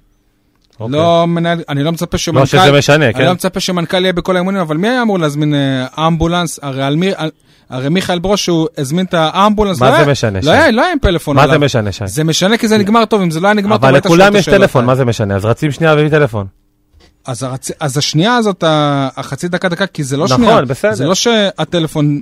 [SPEAKER 2] אוקיי.
[SPEAKER 3] לא מנהל, אני לא מצפה שמנכ"ל...
[SPEAKER 2] לא שזה משנה,
[SPEAKER 3] אני
[SPEAKER 2] כן?
[SPEAKER 3] לא מצפה שמנכ"ל יהיה בכל האימונים, אבל מי היה אמור להזמין אה, אמבולנס? הרי על מי... על- הרי מיכאל ברוש, הוא הזמין את האמבולנס.
[SPEAKER 2] מה
[SPEAKER 3] לא
[SPEAKER 2] זה
[SPEAKER 3] היה-
[SPEAKER 2] משנה, שי?
[SPEAKER 3] לא היה, לא היה עם פלאפון
[SPEAKER 2] מה
[SPEAKER 3] עליו.
[SPEAKER 2] זה משנה, שי?
[SPEAKER 3] זה משנה כי זה נגמר טוב, אם זה לא היה נגמר טוב,
[SPEAKER 2] אבל
[SPEAKER 3] היית שואל
[SPEAKER 2] לכולם
[SPEAKER 3] את
[SPEAKER 2] יש
[SPEAKER 3] השאלות
[SPEAKER 2] טלפון,
[SPEAKER 3] האלה.
[SPEAKER 2] מה זה משנה? אז רצים שנייה ויביא טלפון.
[SPEAKER 3] אז, הרצ... אז השנייה הזאת, ה- החצי דקה דקה, כי זה לא
[SPEAKER 2] נכון,
[SPEAKER 3] שנייה.
[SPEAKER 2] בסדר.
[SPEAKER 3] זה לא שהטלפון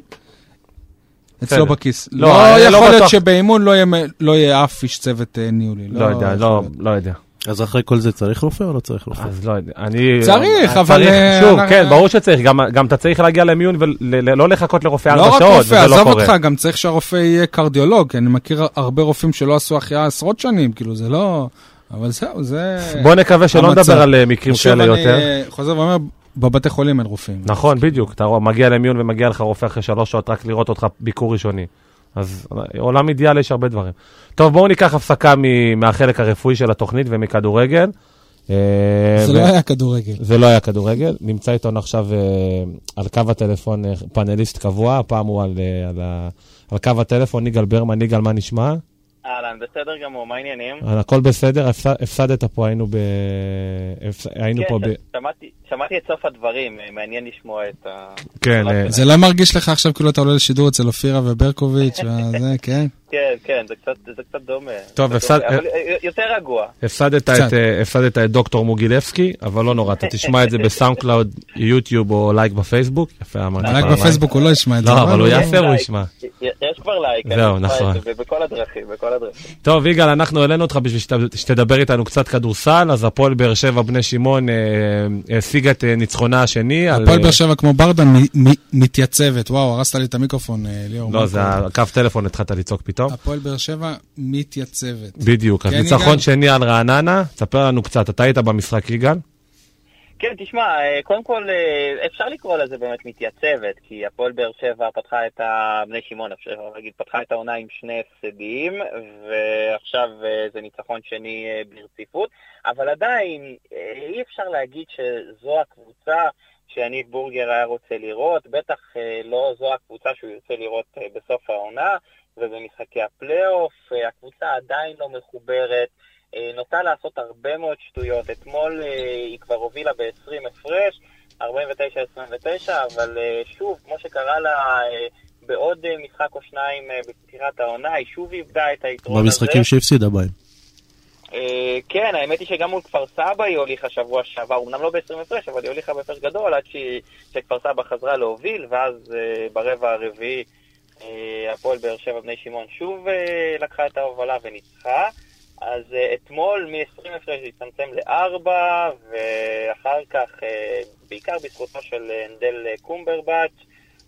[SPEAKER 2] בסדר.
[SPEAKER 3] אצלו בכיס.
[SPEAKER 2] לא,
[SPEAKER 3] לא,
[SPEAKER 2] אני לא
[SPEAKER 3] יכול
[SPEAKER 2] בטוח.
[SPEAKER 3] להיות שבאימון לא יהיה, מ- לא יהיה אף איש צוות אה, ניהולי.
[SPEAKER 2] לא יודע,
[SPEAKER 3] יכול
[SPEAKER 2] לא-
[SPEAKER 3] להיות.
[SPEAKER 2] לא יודע.
[SPEAKER 4] אז אחרי כל זה צריך רופא או לא צריך רופא?
[SPEAKER 2] אז לא יודע, אני...
[SPEAKER 3] צריך, אבל, אה,
[SPEAKER 2] שוב,
[SPEAKER 3] אה,
[SPEAKER 2] כן,
[SPEAKER 3] אה,
[SPEAKER 2] ברור שצריך, גם- גם אתה צריך להגיע למיון ולא לחכות לרופא
[SPEAKER 3] לא
[SPEAKER 2] ארבע
[SPEAKER 3] רק
[SPEAKER 2] שעות,
[SPEAKER 3] רופא,
[SPEAKER 2] וזה לא
[SPEAKER 3] עזוב
[SPEAKER 2] קורה.
[SPEAKER 3] אותך, גם צריך שהרופא יהיה קרדיולוג, כי אני מכיר הרבה רופאים שלא עשו החייאה עשרות שנים, כאילו זה לא... אבל זהו, זה...
[SPEAKER 2] בוא נקווה שלא
[SPEAKER 3] המצב.
[SPEAKER 2] נדבר על אה, מקרים כאלה
[SPEAKER 3] שוב, אני
[SPEAKER 2] יותר.
[SPEAKER 3] אה, חוזר ואומר, בבתי חולים אין רופאים.
[SPEAKER 2] נכון, בדיוק. אתה רוא- מגיע למיון ומגיע לך רופא אחרי שלוש שעות רק לראות אותך ביקור ראשוני. אז עולם אידיאלי יש הרבה דברים. טוב, בואו ניקח הפסקה מ- מהחלק הרפואי של התוכנית ומכדורגל. אה,
[SPEAKER 3] זה
[SPEAKER 2] ו-
[SPEAKER 3] לא היה כדורגל.
[SPEAKER 2] זה לא היה כדורגל. נמצא איתנו עכשיו אה, על קו הטלפון אה, פאנליסט קבוע, הפעם הוא על, אה, על, ה- על קו הטלפון, יגאל ברמן. יגאל, מה נשמע?
[SPEAKER 6] אהלן, בסדר גמור, מה העניינים?
[SPEAKER 2] הכל בסדר, הפס- הפסדת פה, היינו, ב... הפס- היינו פה ב...
[SPEAKER 6] כן, ש- שמעתי- שמעתי את סוף הדברים, אה, מעניין לשמוע את ה...
[SPEAKER 2] כן,
[SPEAKER 6] אה,
[SPEAKER 3] זה לא מרגיש לך עכשיו כאילו אתה עולה לשידור אצל אופירה וברקוביץ' וזה, כן?
[SPEAKER 6] כן, כן, זה קצת- זה קצת דומה.
[SPEAKER 2] טוב,
[SPEAKER 6] זה
[SPEAKER 2] הפסד-
[SPEAKER 6] דומה, אבל, אה, יותר רגוע.
[SPEAKER 2] הפסדת
[SPEAKER 3] קצת.
[SPEAKER 2] את, אה, הפסדת את דוקטור מוגילבסקי, אבל לא נורא, אתה תשמע את זה בסאונד קלאוד, יוטיוב או לייק בפייסבוק. יפה אמרת.
[SPEAKER 3] רק
[SPEAKER 2] פעמיים.
[SPEAKER 3] בפייסבוק הוא לא ישמע את זה.
[SPEAKER 2] אה, לא, אבל הוא
[SPEAKER 3] אבל-
[SPEAKER 2] יעשה, הוא ישמע.
[SPEAKER 6] אה, יש כבר לייק. אני
[SPEAKER 2] זהו,
[SPEAKER 6] אשמע את
[SPEAKER 2] נכון.
[SPEAKER 6] זה, בכל הדרכים, בכל הדרכים.
[SPEAKER 2] טוב, יגאל, אנחנו העלינו אותך בשביל שת- שתדבר איתנו קצת כדורסל, אז הפועל באר שבע בני שמעון אה, השיגה את אה, ניצחונה השני. על,
[SPEAKER 3] הפועל
[SPEAKER 2] אה,
[SPEAKER 3] באר שבע כמו ברדה מ- מ- מתייצבת. וואו, הרסת לי את המיקרופון, אה, ליאור.
[SPEAKER 2] לא,
[SPEAKER 3] מה
[SPEAKER 2] זה
[SPEAKER 3] קורה?
[SPEAKER 2] הקו טלפון התחלת לצעוק פתאום.
[SPEAKER 3] הפועל באר שבע מתייצבת.
[SPEAKER 2] בדיוק, אז
[SPEAKER 3] כן,
[SPEAKER 2] ניצחון
[SPEAKER 3] יגאל?
[SPEAKER 2] שני על רעננה, תספר לנו קצת, אתה היית במשחק, יגאל?
[SPEAKER 6] כן, תשמע, אה, קודם כל, אה, אפשר לקרוא לזה באמת מתייצבת, כי הפועל באר שבע פתחה את ה... בני שמעון, אפשר להגיד, פתחה את העונה עם שני הפסדים, ועכשיו אה, זה ניצחון שני אה, ברציפות, אבל עדיין אה, אי אפשר להגיד שזו הקבוצה שיניב בורגר היה רוצה לראות, בטח אה, לא זו הקבוצה שהוא ירצה לראות אה, בסוף העונה, ובמשחקי הפלייאוף, אה, הקבוצה עדיין לא מחוברת. אה, נוטה לעשות הרבה מאוד שטויות. אתמול אה, היא כבר הובילה ב-20 הפרש, 49-29, אבל אה, שוב, כמו שקרה לה אה, בעוד אה, משחק או שניים אה, בפתיחת העונה, היא שוב איבדה את
[SPEAKER 3] אה.
[SPEAKER 6] היתרון הזה.
[SPEAKER 4] במשחקים שהפסידה בהם.
[SPEAKER 6] אה, כן, האמת היא שגם מול כפר סבא היא הוליכה שבוע שעבר, אמנם לא ב-20 הפרש, אבל היא הוליכה בהפרש גדול עד שהיא- שכפר סבא חזרה להוביל, ואז אה, ברבע הרביעי אה, הפועל באר שבע בני שמעון שוב אה, לקחה את ההובלה וניצחה. אז אה, אתמול מ-20 הפרש זה הצטמצם לארבע, ואחר כך, אה, בעיקר בזכותו של אה, אנדל אה, קומברבץ',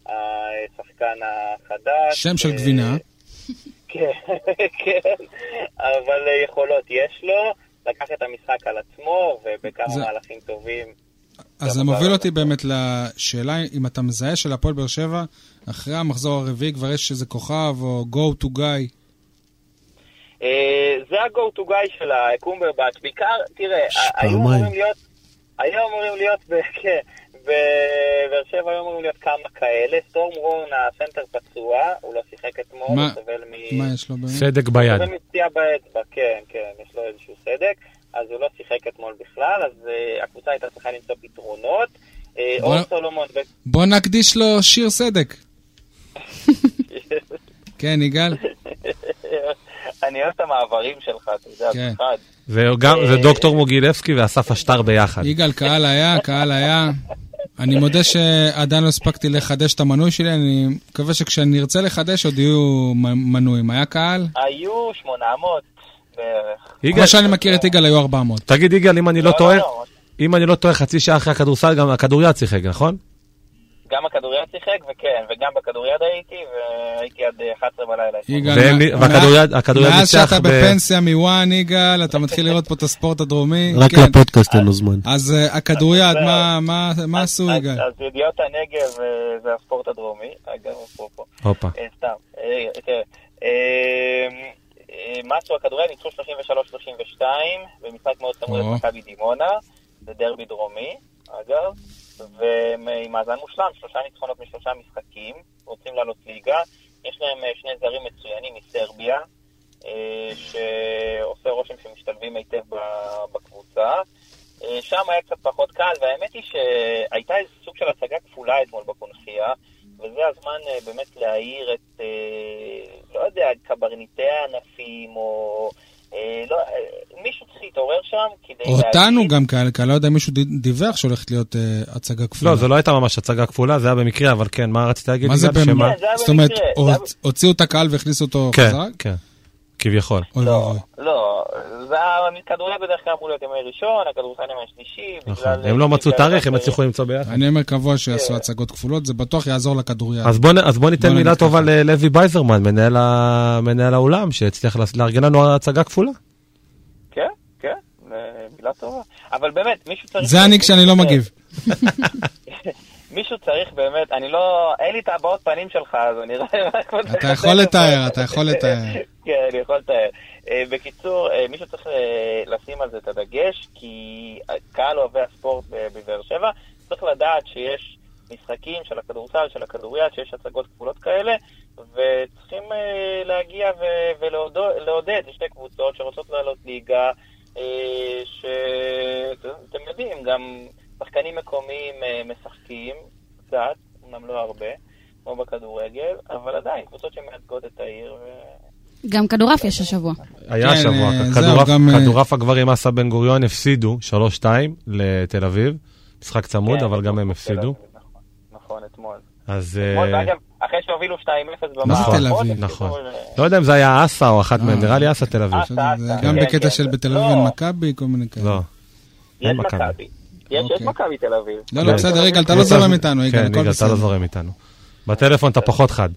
[SPEAKER 6] השחקן החדש.
[SPEAKER 3] שם של
[SPEAKER 6] אה,
[SPEAKER 3] גבינה.
[SPEAKER 6] כן, כן, אבל אה, יכולות יש לו, לקח את המשחק על עצמו, ובכמה
[SPEAKER 3] זה-
[SPEAKER 6] מהלכים טובים.
[SPEAKER 3] אז זה
[SPEAKER 6] גם
[SPEAKER 3] מוביל
[SPEAKER 6] ברדה.
[SPEAKER 3] אותי באמת לשאלה אם אתה מזהה שלהפועל באר שבע, אחרי המחזור הרביעי כבר יש איזה כוכב או go to guy.
[SPEAKER 6] אה, זה ה-go to guy של הקומברבץ', בעיקר, תראה,
[SPEAKER 4] יש
[SPEAKER 6] ה- היו
[SPEAKER 4] פעמיים.
[SPEAKER 6] אמורים להיות, היו אמורים להיות, ב- כן, בבאר שבע היו אמורים להיות כמה כאלה, סטורם רון הסנטר פצוע, הוא לא שיחק אתמול,
[SPEAKER 3] מה-
[SPEAKER 6] הוא סובל מ...
[SPEAKER 3] מה יש לו באמת?
[SPEAKER 2] סדק ביד.
[SPEAKER 6] זה מפציעה באצבע, כן, כן, יש לו איזשהו סדק, אז הוא לא שיחק אתמול בכלל, אז אה, הקבוצה הייתה צריכה למצוא פתרונות. אה,
[SPEAKER 3] בוא-
[SPEAKER 6] אור סולומון, ו-
[SPEAKER 3] בוא נקדיש לו שיר סדק. כן, יגאל?
[SPEAKER 6] אני אוהב את המעברים שלך, אתה יודע,
[SPEAKER 3] כן.
[SPEAKER 6] אחד.
[SPEAKER 2] זה גם, זה דוקטור מוגילבסקי ואסף אשטר ביחד.
[SPEAKER 3] יגאל, קהל היה, קהל היה. אני מודה שעדיין לא הספקתי לחדש את המנוי שלי, אני מקווה שכשנרצה לחדש עוד יהיו מ- מנויים. היה קהל?
[SPEAKER 6] היו 800 בערך.
[SPEAKER 2] יגאל,
[SPEAKER 3] כמו שאני מכיר את יגאל היו 400.
[SPEAKER 2] תגיד יגאל, אם אני לא טועה,
[SPEAKER 6] לא,
[SPEAKER 2] אם אני לא טועה, חצי שעה אחרי הכדורסל גם הכדוריד שיחק, נכון?
[SPEAKER 6] גם הכדוריד שיחק, וכן, וגם בכדוריד הייתי, והייתי עד אה, 11 בלילה.
[SPEAKER 3] יגאל,
[SPEAKER 2] והם-
[SPEAKER 3] מה-
[SPEAKER 2] והכדוריד- הכדוריד
[SPEAKER 3] מאז
[SPEAKER 2] ניצח
[SPEAKER 3] שאתה
[SPEAKER 2] ב-
[SPEAKER 3] בפנסיה מוואן, יגאל, אתה מתחיל לראות פה את הספורט הדרומי.
[SPEAKER 4] רק
[SPEAKER 3] כן.
[SPEAKER 4] לפודקאסט אין לו זמן.
[SPEAKER 3] אז אה, הכדוריד,
[SPEAKER 6] אז-
[SPEAKER 3] מה- מה- מה
[SPEAKER 6] אז-
[SPEAKER 3] עשו,
[SPEAKER 6] אז-
[SPEAKER 3] יגאל?
[SPEAKER 6] אז ידיעות הנגב אה, זה הספורט הדרומי, אגב, אפרופו.
[SPEAKER 2] הופה.
[SPEAKER 6] אה, סתם, אה, תראה. אה, אה, מסו הכדורגל ניצחו 33-32 במשחק מאוד צמוד
[SPEAKER 3] או.
[SPEAKER 6] את מכבי דימונה, זה דרבי דרומי, אגב, והם אה, עם מאזן מושלם, שלושה ניצחונות משלושה משחקים, רוצים לעלות ליגה, יש להם אה, שני זרים מצוינים מסרביה, אה, שעושה רושם שמשתלבים היטב ב- בקבוצה. אה, שם היה קצת פחות קל, והאמת היא שהייתה איזה סוג של הצגה כפולה אתמול בקונחייה, וזה הזמן אה, באמת להעיר את, אה, לא יודע, קברניטי הענפים, או... אה, לא, אה, מישהו צריך להתעורר שם כדי
[SPEAKER 3] אותנו
[SPEAKER 6] להגיד-
[SPEAKER 3] גם קהל, כי אני לא יודע אם מישהו ד- דיווח שהולכת להיות אה, הצגה כפולה.
[SPEAKER 2] לא, זה לא הייתה ממש הצגה כפולה, זה היה במקרה, אבל כן, מה רצית להגיד?
[SPEAKER 3] מה זה
[SPEAKER 2] יגאל? שמה-
[SPEAKER 3] באמת?
[SPEAKER 6] זה היה
[SPEAKER 3] זאת אומרת,
[SPEAKER 6] במקרה, זה היה
[SPEAKER 3] הוצ- הוציאו את הקהל והכניסו אותו
[SPEAKER 2] כן,
[SPEAKER 3] חזרה?
[SPEAKER 2] כן, כביכול.
[SPEAKER 3] אוי
[SPEAKER 6] לא,
[SPEAKER 3] ואבוי.
[SPEAKER 6] לא, זה הכדורגל בדרך כלל אמור להיות ימי ראשון, הכדורסל ימי שלישי. אה,
[SPEAKER 2] נכון. הם לא מצאו תאריך, הם הצליחו למצוא ביחד.
[SPEAKER 3] אני אומר קבוע שיעשו הצגות כפולות, זה בטוח יעזור לכדוריד.
[SPEAKER 2] אז בוא, נ- אז בוא ניתן
[SPEAKER 3] כן. בוא
[SPEAKER 2] מילה
[SPEAKER 3] נגיד
[SPEAKER 2] טובה
[SPEAKER 3] ככה.
[SPEAKER 2] ללוי בייזרמן, מנהל, ה... מנהל האולם, שהצליח לה- לארגן לנו הצגה כפולה.
[SPEAKER 6] כן, כן, אה, מילה טובה. אבל באמת, מישהו צריך...
[SPEAKER 3] זה אני כשאני לא מגיב.
[SPEAKER 6] מישהו צריך באמת, אני לא... אין לי את הבעות פנים שלך, אז אני רואה...
[SPEAKER 3] אתה יכול לתאר, אתה יכול לתאר.
[SPEAKER 6] כן, אני יכול לתאר. אה, בקיצור, אה, מישהו צריך אה, לשים על זה את הדגש, כי אה, קהל אוהבי הספורט ב- בבאר שבע צריך לדעת שיש משחקים של הכדורסל, של הכדוריד, שיש הצגות כפולות כאלה, וצריכים אה, להגיע ו- ולעודד שתי קבוצות שרוצות לעלות ליגה, אה, שאתם יודעים, גם שחקנים מקומיים אה, משחקים קצת, אמנם לא הרבה. כמו בכדורגל, אבל עדיין קבוצות שמייצגות את העיר. ו-
[SPEAKER 5] גם כדורעף יש השבוע.
[SPEAKER 2] היה
[SPEAKER 3] כן,
[SPEAKER 2] השבוע,
[SPEAKER 3] אה, זהו,
[SPEAKER 2] כדורעף-
[SPEAKER 3] גם, אה,
[SPEAKER 2] כדורעף הגברים אסא בן גוריון הפסידו 3-2 לתל אביב. משחק צמוד,
[SPEAKER 6] כן,
[SPEAKER 2] אבל גם הם
[SPEAKER 6] נכון,
[SPEAKER 2] הפסידו.
[SPEAKER 6] נכון, נכון, אתמול.
[SPEAKER 2] אז...
[SPEAKER 6] אתמול,
[SPEAKER 2] אה,
[SPEAKER 6] ואגב, אחרי שהובילו 2-0
[SPEAKER 3] מה זה
[SPEAKER 6] במערכות.
[SPEAKER 3] תל אביב?
[SPEAKER 6] הם
[SPEAKER 2] נכון.
[SPEAKER 6] קיבלו, אה,
[SPEAKER 2] לא יודע אם זה היה אסה או אחת
[SPEAKER 3] אה,
[SPEAKER 2] מהם, נראה לי אסה תל אביב.
[SPEAKER 6] אסה.
[SPEAKER 3] בסדר, זה היה גם
[SPEAKER 6] כן,
[SPEAKER 3] בקטע
[SPEAKER 6] כן,
[SPEAKER 3] של
[SPEAKER 6] זה-
[SPEAKER 3] בתל
[SPEAKER 6] לא.
[SPEAKER 3] אביב אין מכבי, כל מיני כאלה.
[SPEAKER 2] לא.
[SPEAKER 6] יש
[SPEAKER 2] אין
[SPEAKER 6] מכבי. יש, יש
[SPEAKER 3] אוקיי.
[SPEAKER 6] מכבי תל אביב.
[SPEAKER 3] לא, לא, בסדר, יגאל, אתה לא זורם איתנו, יגאל,
[SPEAKER 2] כן, יגאל,
[SPEAKER 3] הכל
[SPEAKER 2] אתה לא
[SPEAKER 3] בסדר.
[SPEAKER 2] זורם איתנו. בטלפון אתה פחות חד.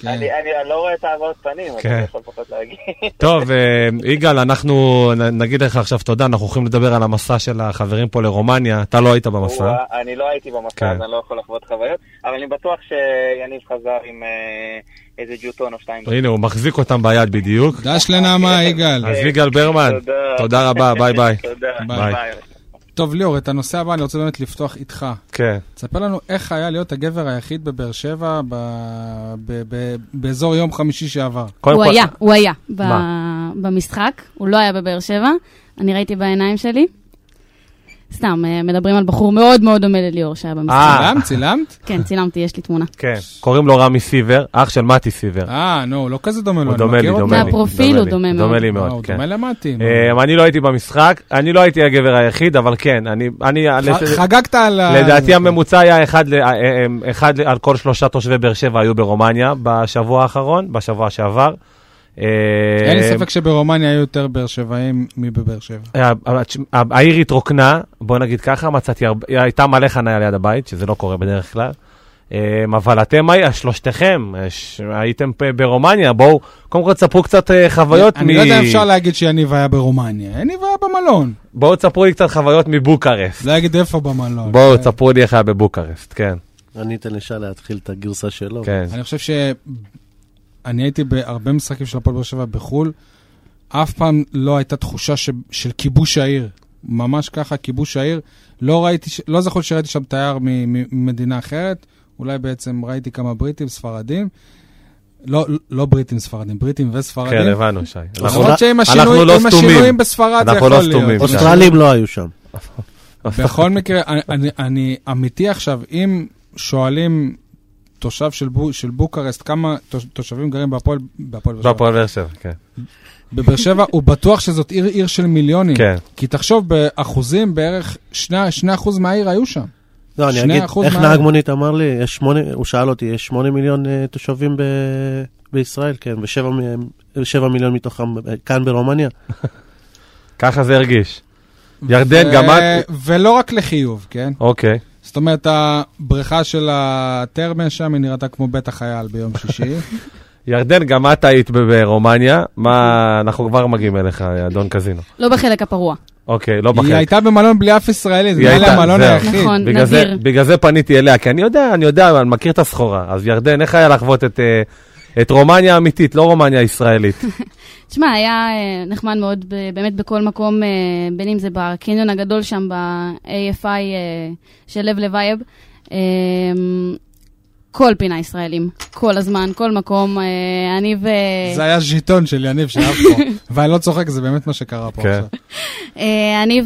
[SPEAKER 3] כן.
[SPEAKER 6] אני אני לא רואה את העברות פנים, אז
[SPEAKER 2] כן.
[SPEAKER 6] אני יכול פחות להגיד.
[SPEAKER 2] טוב, אה, יגאל, אנחנו נ- נגיד לך עכשיו תודה, אנחנו הולכים לדבר על המסע של החברים פה לרומניה, אתה לא היית במסע.
[SPEAKER 6] הוא- אני לא הייתי במסע,
[SPEAKER 2] כן.
[SPEAKER 6] אז אני לא יכול לחוות חוויות, אבל אני בטוח שיניב חזר עם אה, איזה ג'וטון או שתיים.
[SPEAKER 2] הנה, הוא מחזיק אותם ביד בדיוק.
[SPEAKER 3] דש
[SPEAKER 2] אה,
[SPEAKER 3] לנעמה, יגאל.
[SPEAKER 2] אז יגאל ברמן, תודה רבה, ביי ביי.
[SPEAKER 6] תודה.
[SPEAKER 2] ביי.
[SPEAKER 3] טוב, ליאור, את הנושא הבא אני רוצה באמת לפתוח איתך.
[SPEAKER 2] כן.
[SPEAKER 3] תספר לנו איך היה להיות הגבר היחיד בבאר שבע ב... ב... ב... באזור יום חמישי שעבר.
[SPEAKER 2] קודם
[SPEAKER 5] הוא
[SPEAKER 2] כל-
[SPEAKER 5] היה, הוא היה ב-
[SPEAKER 2] מה?
[SPEAKER 5] במשחק, הוא לא היה בבאר שבע, אני ראיתי בעיניים שלי. סתם, אה, מדברים על בחור מאוד מאוד דומה לליאור שהיה במשחק.
[SPEAKER 2] אה.
[SPEAKER 3] צילמת? צילמת?
[SPEAKER 5] כן, צילמתי, יש לי תמונה.
[SPEAKER 2] כן. קוראים לו רמי סיבר, אח של מתי סיבר.
[SPEAKER 3] אה, נו, הוא לא כזה דומה לו,
[SPEAKER 2] הוא
[SPEAKER 3] אני
[SPEAKER 2] דומה לי,
[SPEAKER 3] מכיר אותו.
[SPEAKER 2] דומה לי.
[SPEAKER 5] מהפרופיל הוא דומה מאוד.
[SPEAKER 2] דומה לי
[SPEAKER 3] אה,
[SPEAKER 2] מאוד,
[SPEAKER 3] הוא
[SPEAKER 2] כן.
[SPEAKER 3] דומה למטי. נו.
[SPEAKER 2] אה, אני לא הייתי במשחק, אני לא הייתי הגבר היחיד, אבל כן, אני... אני-
[SPEAKER 3] ח- חגגת על ה...
[SPEAKER 2] לדעתי הממוצע היה אחד, ל- אה, אה, אחד ל- על כל שלושה תושבי באר שבע היו ברומניה בשבוע האחרון, בשבוע שעבר. אה,
[SPEAKER 3] אין לי ספק שברומניה היו יותר באר שבעים מבבאר שבע.
[SPEAKER 2] אה, אה, תש- אה, העיר התרוקנה, בוא נגיד ככה, מצאתי הרבה, אה, הייתה מלא חניה ליד הבית, שזה לא קורה בדרך כלל. אה, אבל אתם, הי- שלושתכם, אה, ש- הייתם פ- ברומניה, בואו, קודם כל תספרו קצת אה, חוויות
[SPEAKER 3] אני לא יודע אם אפשר להגיד שיניב היה ברומניה. יניב היה במלון.
[SPEAKER 2] בואו תספרו לי קצת חוויות מבוקרסט.
[SPEAKER 3] לא אגיד איפה במלון.
[SPEAKER 2] בואו,
[SPEAKER 3] אה,
[SPEAKER 2] תספרו לי איך היה בבוקרסט, כן,
[SPEAKER 4] אני אתן לשי להתחיל את הגרסה שלו.
[SPEAKER 2] כן.
[SPEAKER 3] אני חושב ש... אני הייתי בהרבה משחקים של הפועל באר שבע בחו"ל, אף פעם לא הייתה תחושה ש... של כיבוש העיר. ממש ככה, כיבוש העיר. לא ראיתי, ש... לא זכור שראיתי שם תייר מ- מ- ממדינה אחרת, אולי בעצם ראיתי כמה בריטים, ספרדים. לא, לא בריטים, ספרדים, בריטים וספרדים.
[SPEAKER 2] כן, הבנו, שי. אנחנו לא-
[SPEAKER 3] למרות שעם
[SPEAKER 2] אנחנו
[SPEAKER 3] השינוי,
[SPEAKER 2] לא
[SPEAKER 3] עם
[SPEAKER 2] סתומים.
[SPEAKER 3] השינויים בספרד זה
[SPEAKER 2] אנחנו
[SPEAKER 3] יכול
[SPEAKER 2] לא
[SPEAKER 3] להיות.
[SPEAKER 2] סתומים.
[SPEAKER 4] אוסטרלים לא היו שם.
[SPEAKER 2] נכון?
[SPEAKER 3] בכל מקרה, אני, אני, אני אמיתי עכשיו, אם שואלים תושב של, בו, של בוקרסט כמה תוש, תושבים גרים בהפועל בהפועל באר שבע,
[SPEAKER 2] בהפועל באר שבע, כן.
[SPEAKER 3] בבאר שבע, הוא בטוח שזאת עיר עיר של מיליונים.
[SPEAKER 2] כן.
[SPEAKER 3] כי תחשוב, באחוזים בערך 2% מהעיר היו שם.
[SPEAKER 4] לא, אני
[SPEAKER 3] שני
[SPEAKER 4] אגיד,
[SPEAKER 3] אחוז
[SPEAKER 4] איך
[SPEAKER 3] מה-
[SPEAKER 4] נהג מונית אמר לי, יש שמונה, הוא שאל אותי, יש שמונה מיליון אה, תושבים ב... בישראל, כן, ושבע מ- שבע מיליון מתוכם אה, כאן ברומניה.
[SPEAKER 3] כן.
[SPEAKER 2] ככה זה הרגיש. ירדן, גם את...
[SPEAKER 3] ו- ולא רק לחיוב, כן?
[SPEAKER 2] אוקיי.
[SPEAKER 3] זאת אומרת, הבריכה של הטרמה שם, היא נראתה כמו בית החייל ביום שישי.
[SPEAKER 2] ירדן, גם את היית ב- ברומניה. מה,
[SPEAKER 3] נכון.
[SPEAKER 2] אנחנו כבר מגיעים אליך, אדון קזינו.
[SPEAKER 5] לא בחלק הפרוע.
[SPEAKER 2] אוקיי, לא
[SPEAKER 3] היא
[SPEAKER 2] בחלק.
[SPEAKER 3] הייתה במלון בלי אף ישראלי, זה
[SPEAKER 2] היא
[SPEAKER 3] היה לה
[SPEAKER 2] הייתה,
[SPEAKER 3] המלון
[SPEAKER 2] זהו.
[SPEAKER 3] היחיד.
[SPEAKER 5] נכון.
[SPEAKER 2] בגלל זה-
[SPEAKER 5] נדיר.
[SPEAKER 2] בגלל זה פניתי אליה, כי אני יודע, אני יודע, אני מכיר את הסחורה. אז ירדן, איך היה לחוות את... אה, את רומניה האמיתית, לא רומניה הישראלית.
[SPEAKER 5] אוקיי. תשמע, היה אה, נחמד מאוד ב- באמת בכל מקום, אה, בין אם זה בקניון הגדול שם, ב-AFI אה, של לב לוייב. אה, כל פינה ישראלים, כל הזמן, כל מקום. אה, אני ו...
[SPEAKER 3] זה היה ז'יטון של יניב שהיה פה, ואני לא צוחק, זה באמת מה שקרה פה
[SPEAKER 2] כן.
[SPEAKER 3] עכשיו.
[SPEAKER 5] אה, אני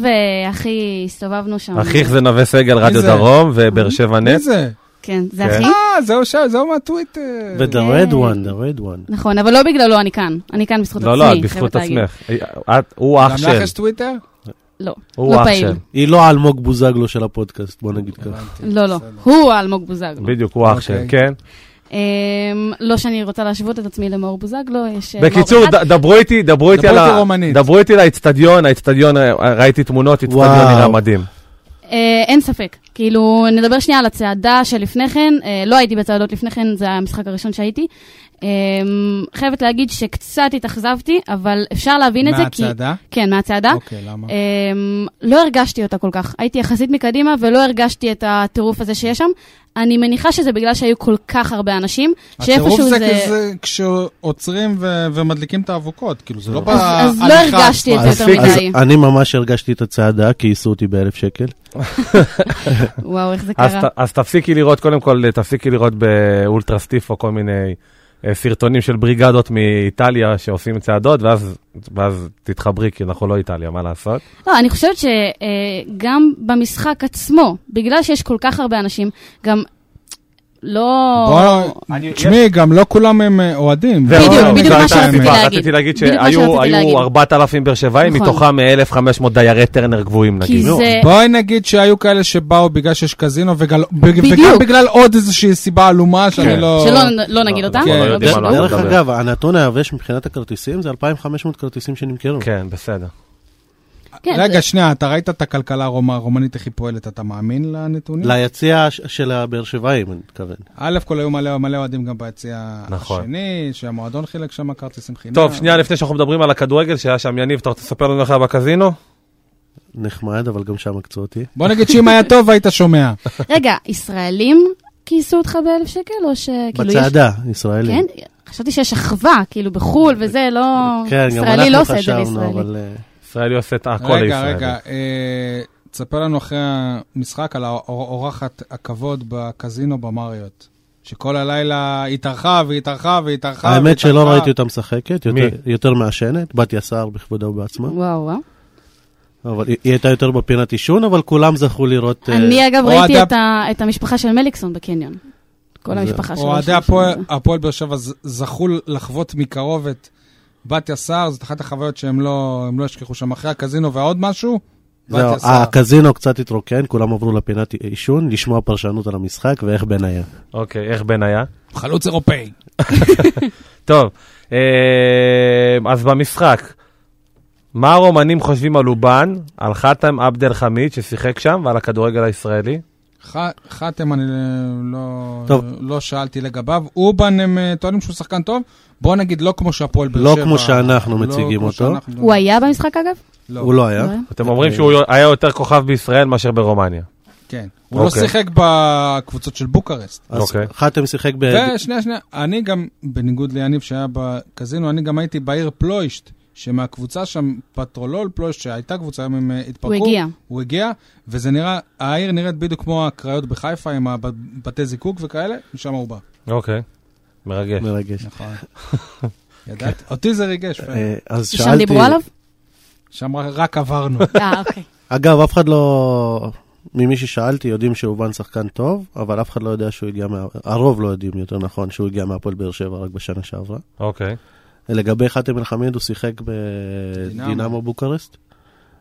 [SPEAKER 5] ואחי הסתובבנו שם.
[SPEAKER 2] אחיך זה נווה סגל, רדיו
[SPEAKER 3] זה?
[SPEAKER 2] דרום ובאר שבע
[SPEAKER 3] מי
[SPEAKER 2] נט.
[SPEAKER 3] זה?
[SPEAKER 5] כן, זה
[SPEAKER 2] כן.
[SPEAKER 5] אחי.
[SPEAKER 3] אה, זהו שם, זהו מהטוויטר.
[SPEAKER 4] ו-the red one, the red one.
[SPEAKER 5] נכון, אבל לא בגללו אני כאן. אני כאן בזכות עצמי.
[SPEAKER 2] לא, לא, את
[SPEAKER 5] חייבת
[SPEAKER 2] בזכות
[SPEAKER 5] להגיד.
[SPEAKER 2] עצמך. אה, את- הוא
[SPEAKER 3] גם
[SPEAKER 2] אח של.
[SPEAKER 3] לך יש טוויטר?
[SPEAKER 5] לא,
[SPEAKER 2] הוא
[SPEAKER 5] לא
[SPEAKER 2] אח
[SPEAKER 5] פעיל.
[SPEAKER 2] של.
[SPEAKER 4] היא לא אלמוג בוזגלו של הפודקאסט, בוא נגיד ככה.
[SPEAKER 3] הבנתי.
[SPEAKER 5] לא, לא. הוא האלמוג בוזגלו.
[SPEAKER 2] בדיוק, הוא אח של,
[SPEAKER 3] אוקיי.
[SPEAKER 2] כן.
[SPEAKER 5] אמ, לא שאני רוצה להשוות את עצמי למאור בוזגלו, יש... אה,
[SPEAKER 2] בקיצור,
[SPEAKER 5] מאור אחד.
[SPEAKER 2] ד- דברו איתי, דברו איתי
[SPEAKER 3] דברו
[SPEAKER 2] על
[SPEAKER 3] איתי
[SPEAKER 2] ה...
[SPEAKER 3] רומנית.
[SPEAKER 2] דברו איתי על האיצטדיון, האיצטדיון, אה, ראיתי תמונות, האיצטדיון
[SPEAKER 4] וואו.
[SPEAKER 2] נראה מדהים.
[SPEAKER 5] אה, אין ספק. כאילו, נדבר שנייה על הצעדה שלפני כן. אה, לא הייתי בצעדות לפני כן, זה המשחק הראשון שהייתי. אמ, חייבת להגיד שקצת התאכזבתי, אבל אפשר להבין את זה כי...
[SPEAKER 3] מהצעדה?
[SPEAKER 5] כן, מהצעדה.
[SPEAKER 3] אוקיי, למה?
[SPEAKER 5] אמ, לא הרגשתי אותה כל כך. הייתי יחסית מקדימה ולא הרגשתי את הטירוף הזה שיש שם. אני מניחה שזה בגלל שהיו כל כך הרבה אנשים,
[SPEAKER 3] הטירוף
[SPEAKER 5] שאיפשהו
[SPEAKER 3] אה, זה
[SPEAKER 5] זה...
[SPEAKER 3] כזה כשעוצרים ו- ומדליקים את האבוקות, כאילו זה לא בהליכה.
[SPEAKER 5] אז לא הרגשתי את זה יותר
[SPEAKER 4] אז- אז
[SPEAKER 5] מדי.
[SPEAKER 4] אני ממש הרגשתי את הצעדה, כייסו אותי באלף שקל.
[SPEAKER 5] וואו, איך זה
[SPEAKER 2] אז
[SPEAKER 5] קרה.
[SPEAKER 2] ת- אז תפסיקי לראות, קודם כל, תפסיקי לראות באולטרה סטיף או כל מיני אה, סרטונים של בריגדות מאיטליה שעושים צעדות, ואז- ואז תתחברי, כי אנחנו לא איטליה, מה לעשות?
[SPEAKER 5] לא, אני חושבת אה, שגם במשחק עצמו, בגלל שיש כל כך הרבה אנשים, גם לא...
[SPEAKER 3] בוא,
[SPEAKER 1] אני-
[SPEAKER 3] תשמעי, גם לא כולם הם אה, אוהדים.
[SPEAKER 2] זהו,
[SPEAKER 5] בדיוק,
[SPEAKER 2] זהו,
[SPEAKER 5] בדיוק
[SPEAKER 2] זו
[SPEAKER 5] מה
[SPEAKER 2] הייתה
[SPEAKER 5] שרציתי
[SPEAKER 2] הנקודה.
[SPEAKER 5] להגיד.
[SPEAKER 2] רציתי להגיד
[SPEAKER 5] בדיוק מה
[SPEAKER 2] שהיו
[SPEAKER 5] שרציתי להגיד.
[SPEAKER 2] היו 4,000 באר שבעים,
[SPEAKER 5] נכון.
[SPEAKER 2] מתוכם אה, 1,500 דיירי טרנר גבוהים
[SPEAKER 5] כי
[SPEAKER 2] נגיד.
[SPEAKER 5] זה...
[SPEAKER 3] בואי נגיד שהיו כאלה שבאו בגלל שיש קזינו, וגם וגם
[SPEAKER 5] בדיוק.
[SPEAKER 3] בגלל עוד איזושהי סיבה עלומה שאני
[SPEAKER 2] כן.
[SPEAKER 3] לא...
[SPEAKER 5] שלא לא נגיד
[SPEAKER 2] לא,
[SPEAKER 5] אותה.
[SPEAKER 2] אנחנו
[SPEAKER 3] לא
[SPEAKER 5] אבל
[SPEAKER 2] יודעים על מה
[SPEAKER 5] בסדר.
[SPEAKER 2] אנחנו
[SPEAKER 4] דרך
[SPEAKER 2] מדבר.
[SPEAKER 4] אגב, הנתון היבש מבחינת הכרטיסים זה 2,500 כרטיסים שנמכרו.
[SPEAKER 2] כן, בסדר.
[SPEAKER 5] כן, זה-
[SPEAKER 3] רגע, שנייה, אתה ראית את הכלכלה הרומא- הרומנית איך היא פועלת, אתה מאמין לנתונים?
[SPEAKER 4] ליציע ש- של הבאר שבעים, אני מתכוון.
[SPEAKER 3] א' כל היו מלא מלא אוהדים גם ביציע
[SPEAKER 2] נכון.
[SPEAKER 3] השני, שהמועדון חילק שם כרטיסים חינם.
[SPEAKER 2] טוב, שנייה לפני שאנחנו מדברים על הכדורגל שהיה שם, יניב, אתה רוצה לספר לנו איך היה בקזינו?
[SPEAKER 4] נחמד, אבל גם שם עקצו אותי.
[SPEAKER 3] בוא נגיד שאם היה טוב היית שומע.
[SPEAKER 5] רגע, ישראלים כיסו אותך באלף שקל, או שכאילו כאילו יש...
[SPEAKER 4] בצעדה, ישראלים.
[SPEAKER 5] כן? חשבתי שיש אחווה, כאילו בחו"ל וזה, לא...
[SPEAKER 4] כן, גם
[SPEAKER 5] ישראלי לא
[SPEAKER 4] אנחנו
[SPEAKER 5] עושה את זה
[SPEAKER 4] חשבנו,
[SPEAKER 5] לישראלי.
[SPEAKER 4] אבל... אה,
[SPEAKER 2] ישראלי עושה את הכל
[SPEAKER 3] רגע,
[SPEAKER 2] לישראלי.
[SPEAKER 3] רגע, אה, תספר לנו אחרי המשחק על האור- אורחת הכבוד בקזינו במריוט. שכל הלילה התארחה והתארחה והתארחה.
[SPEAKER 4] האמת שלא
[SPEAKER 3] והתארחה.
[SPEAKER 4] ראיתי אותה משחקת, יותר-
[SPEAKER 2] מי?
[SPEAKER 4] יותר מעשנת, בת יס"ר בכבודה ובעצמה.
[SPEAKER 5] וואו, וואו. אה.
[SPEAKER 4] אבל היא היא הייתה יותר בפינת עישון, אבל כולם זכו לראות... אה,
[SPEAKER 5] אני אגב
[SPEAKER 3] אוהד
[SPEAKER 5] ראיתי
[SPEAKER 3] הפ-
[SPEAKER 5] את ה- את המשפחה של מליקסון בקניון. כל המשפחה שלו.
[SPEAKER 3] אוהדי
[SPEAKER 5] שם,
[SPEAKER 3] הפועל-
[SPEAKER 5] שם, שם.
[SPEAKER 3] הפועל באר שבע ז- זכו לחוות מקרוב את בתיה סער, זאת אחת החוויות שהם לא הם לא ישכחו שם. אחרי הקזינו והעוד משהו,
[SPEAKER 4] זהו, אה,
[SPEAKER 3] בתיה סער.
[SPEAKER 4] הקזינו קצת התרוקן, כולם עברו לפינת עישון, לשמוע פרשנות על המשחק ואיך בן היה.
[SPEAKER 2] אוקיי, איך בן היה?
[SPEAKER 3] חלוץ אירופאי.
[SPEAKER 2] טוב, אה, אז במשחק, מה הרומנים חושבים על אובן, על חתם עבד אל חמיד ששיחק שם ועל הכדורגל הישראלי?
[SPEAKER 3] ח- חתם, אני לא,
[SPEAKER 4] טוב.
[SPEAKER 3] לא שאלתי לגביו. אובן, הם אה, טוענים שהוא שחקן טוב. בוא נגיד, לא כמו שהפועל באר
[SPEAKER 4] לא
[SPEAKER 3] שבע.
[SPEAKER 4] כמו שאנחנו מציגים
[SPEAKER 3] כמו
[SPEAKER 4] אותו.
[SPEAKER 3] שאנחנו-
[SPEAKER 5] הוא היה במשחק אגב?
[SPEAKER 3] לא,
[SPEAKER 4] הוא לא היה.
[SPEAKER 5] לא היה?
[SPEAKER 2] אתם
[SPEAKER 3] אה.
[SPEAKER 2] אומרים שהוא היה יותר כוכב בישראל מאשר ברומניה.
[SPEAKER 3] כן. הוא לא
[SPEAKER 2] אוקיי.
[SPEAKER 3] שיחק בקבוצות של בוקרשט.
[SPEAKER 4] אז
[SPEAKER 2] אוקיי.
[SPEAKER 4] חתם שיחק ב...
[SPEAKER 3] ושנייה, שנייה, אני גם, בניגוד ליניב שהיה בקזינו, אני גם הייתי בעיר פלוישט, שמהקבוצה שם, פטרולול פלוישט, שהייתה קבוצה, היום הם אה, התפרקו.
[SPEAKER 5] הוא הגיע.
[SPEAKER 3] הוא הגיע, וזה נראה, העיר נראית בדיוק כמו הקריות בחיפה, עם הבתי זיקוק וכאלה, משם הוא בא.
[SPEAKER 2] אוקיי, מרגש.
[SPEAKER 4] מרגש.
[SPEAKER 3] נכון. ידעת? כן. אותי זה ריגש. פרק.
[SPEAKER 4] אה, אז
[SPEAKER 5] שם
[SPEAKER 4] שאלתי...
[SPEAKER 5] דיברו עליו?
[SPEAKER 3] שם רק עברנו.
[SPEAKER 5] אה, אוקיי.
[SPEAKER 4] אגב, אף אחד לא... ממי ששאלתי יודעים שאובן שחקן טוב, אבל אף אחד לא יודע שהוא הגיע מה... הרוב לא יודעים, יותר נכון, שהוא הגיע מהפועל באר שבע רק בשנה שעברה.
[SPEAKER 2] אוקיי.
[SPEAKER 4] לגבי חאתם אל-חמיד, הוא שיחק
[SPEAKER 3] דינמו.
[SPEAKER 4] בדינמו בוקרשט,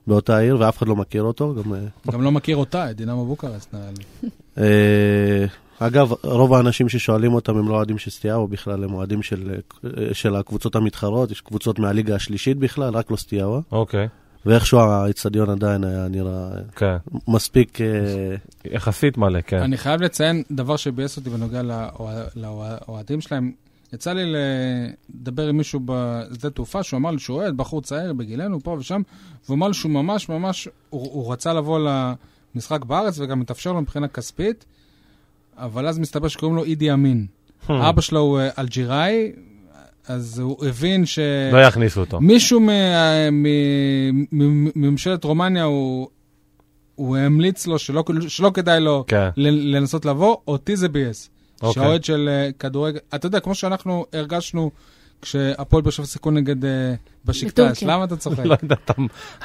[SPEAKER 4] באותה עיר, ואף אחד לא מכיר אותו. גם, אה,
[SPEAKER 3] גם לא מכיר אותה, את דינמו בוקרסט נראה לי.
[SPEAKER 4] אה, אגב, רוב האנשים ששואלים אותם הם לא אוהדים של סטיהו בכלל, הם אוהדים של, אה, של הקבוצות המתחרות, יש קבוצות מהליגה השלישית בכלל, רק לא סטיהו,
[SPEAKER 2] אוקיי,
[SPEAKER 4] ואיכשהו האיצטדיון עדיין היה נראה
[SPEAKER 2] כן.
[SPEAKER 4] מספיק... אה,
[SPEAKER 2] יחסית מלא, כן.
[SPEAKER 3] אני חייב לציין דבר שביאס אותי בנוגע לאוה- לאוהדים שלהם. יצא לי לדבר עם מישהו בשדה תעופה, שהוא אמר לי שהוא אוהד, בחור צעיר בגילנו, פה ושם, והוא אמר לי שהוא ממש ממש, הוא, הוא רצה לבוא למשחק בארץ, וגם התאפשר לו מבחינה כספית, אבל אז מסתבר שקוראים לו אידי אמין. אבא שלו הוא אה, אלג'יראי, אז הוא הבין ש...
[SPEAKER 2] לא יכניסו אותו.
[SPEAKER 3] מישהו מה- מ- מ- מממשלת רומניה, הוא הוא המליץ לו שלא שלא כדאי לו
[SPEAKER 2] כן.
[SPEAKER 3] ל- לנסות לבוא, אותי זה ביאס.
[SPEAKER 2] אוקיי.
[SPEAKER 3] שהאוהד של אה, כדורגל, אתה יודע, כמו שאנחנו הרגשנו כשהפועל באר שבע סיכון נגד אה, בשקטש,
[SPEAKER 5] בטורקיה.
[SPEAKER 3] למה אתה צוחק?
[SPEAKER 2] לא יודע, אתה-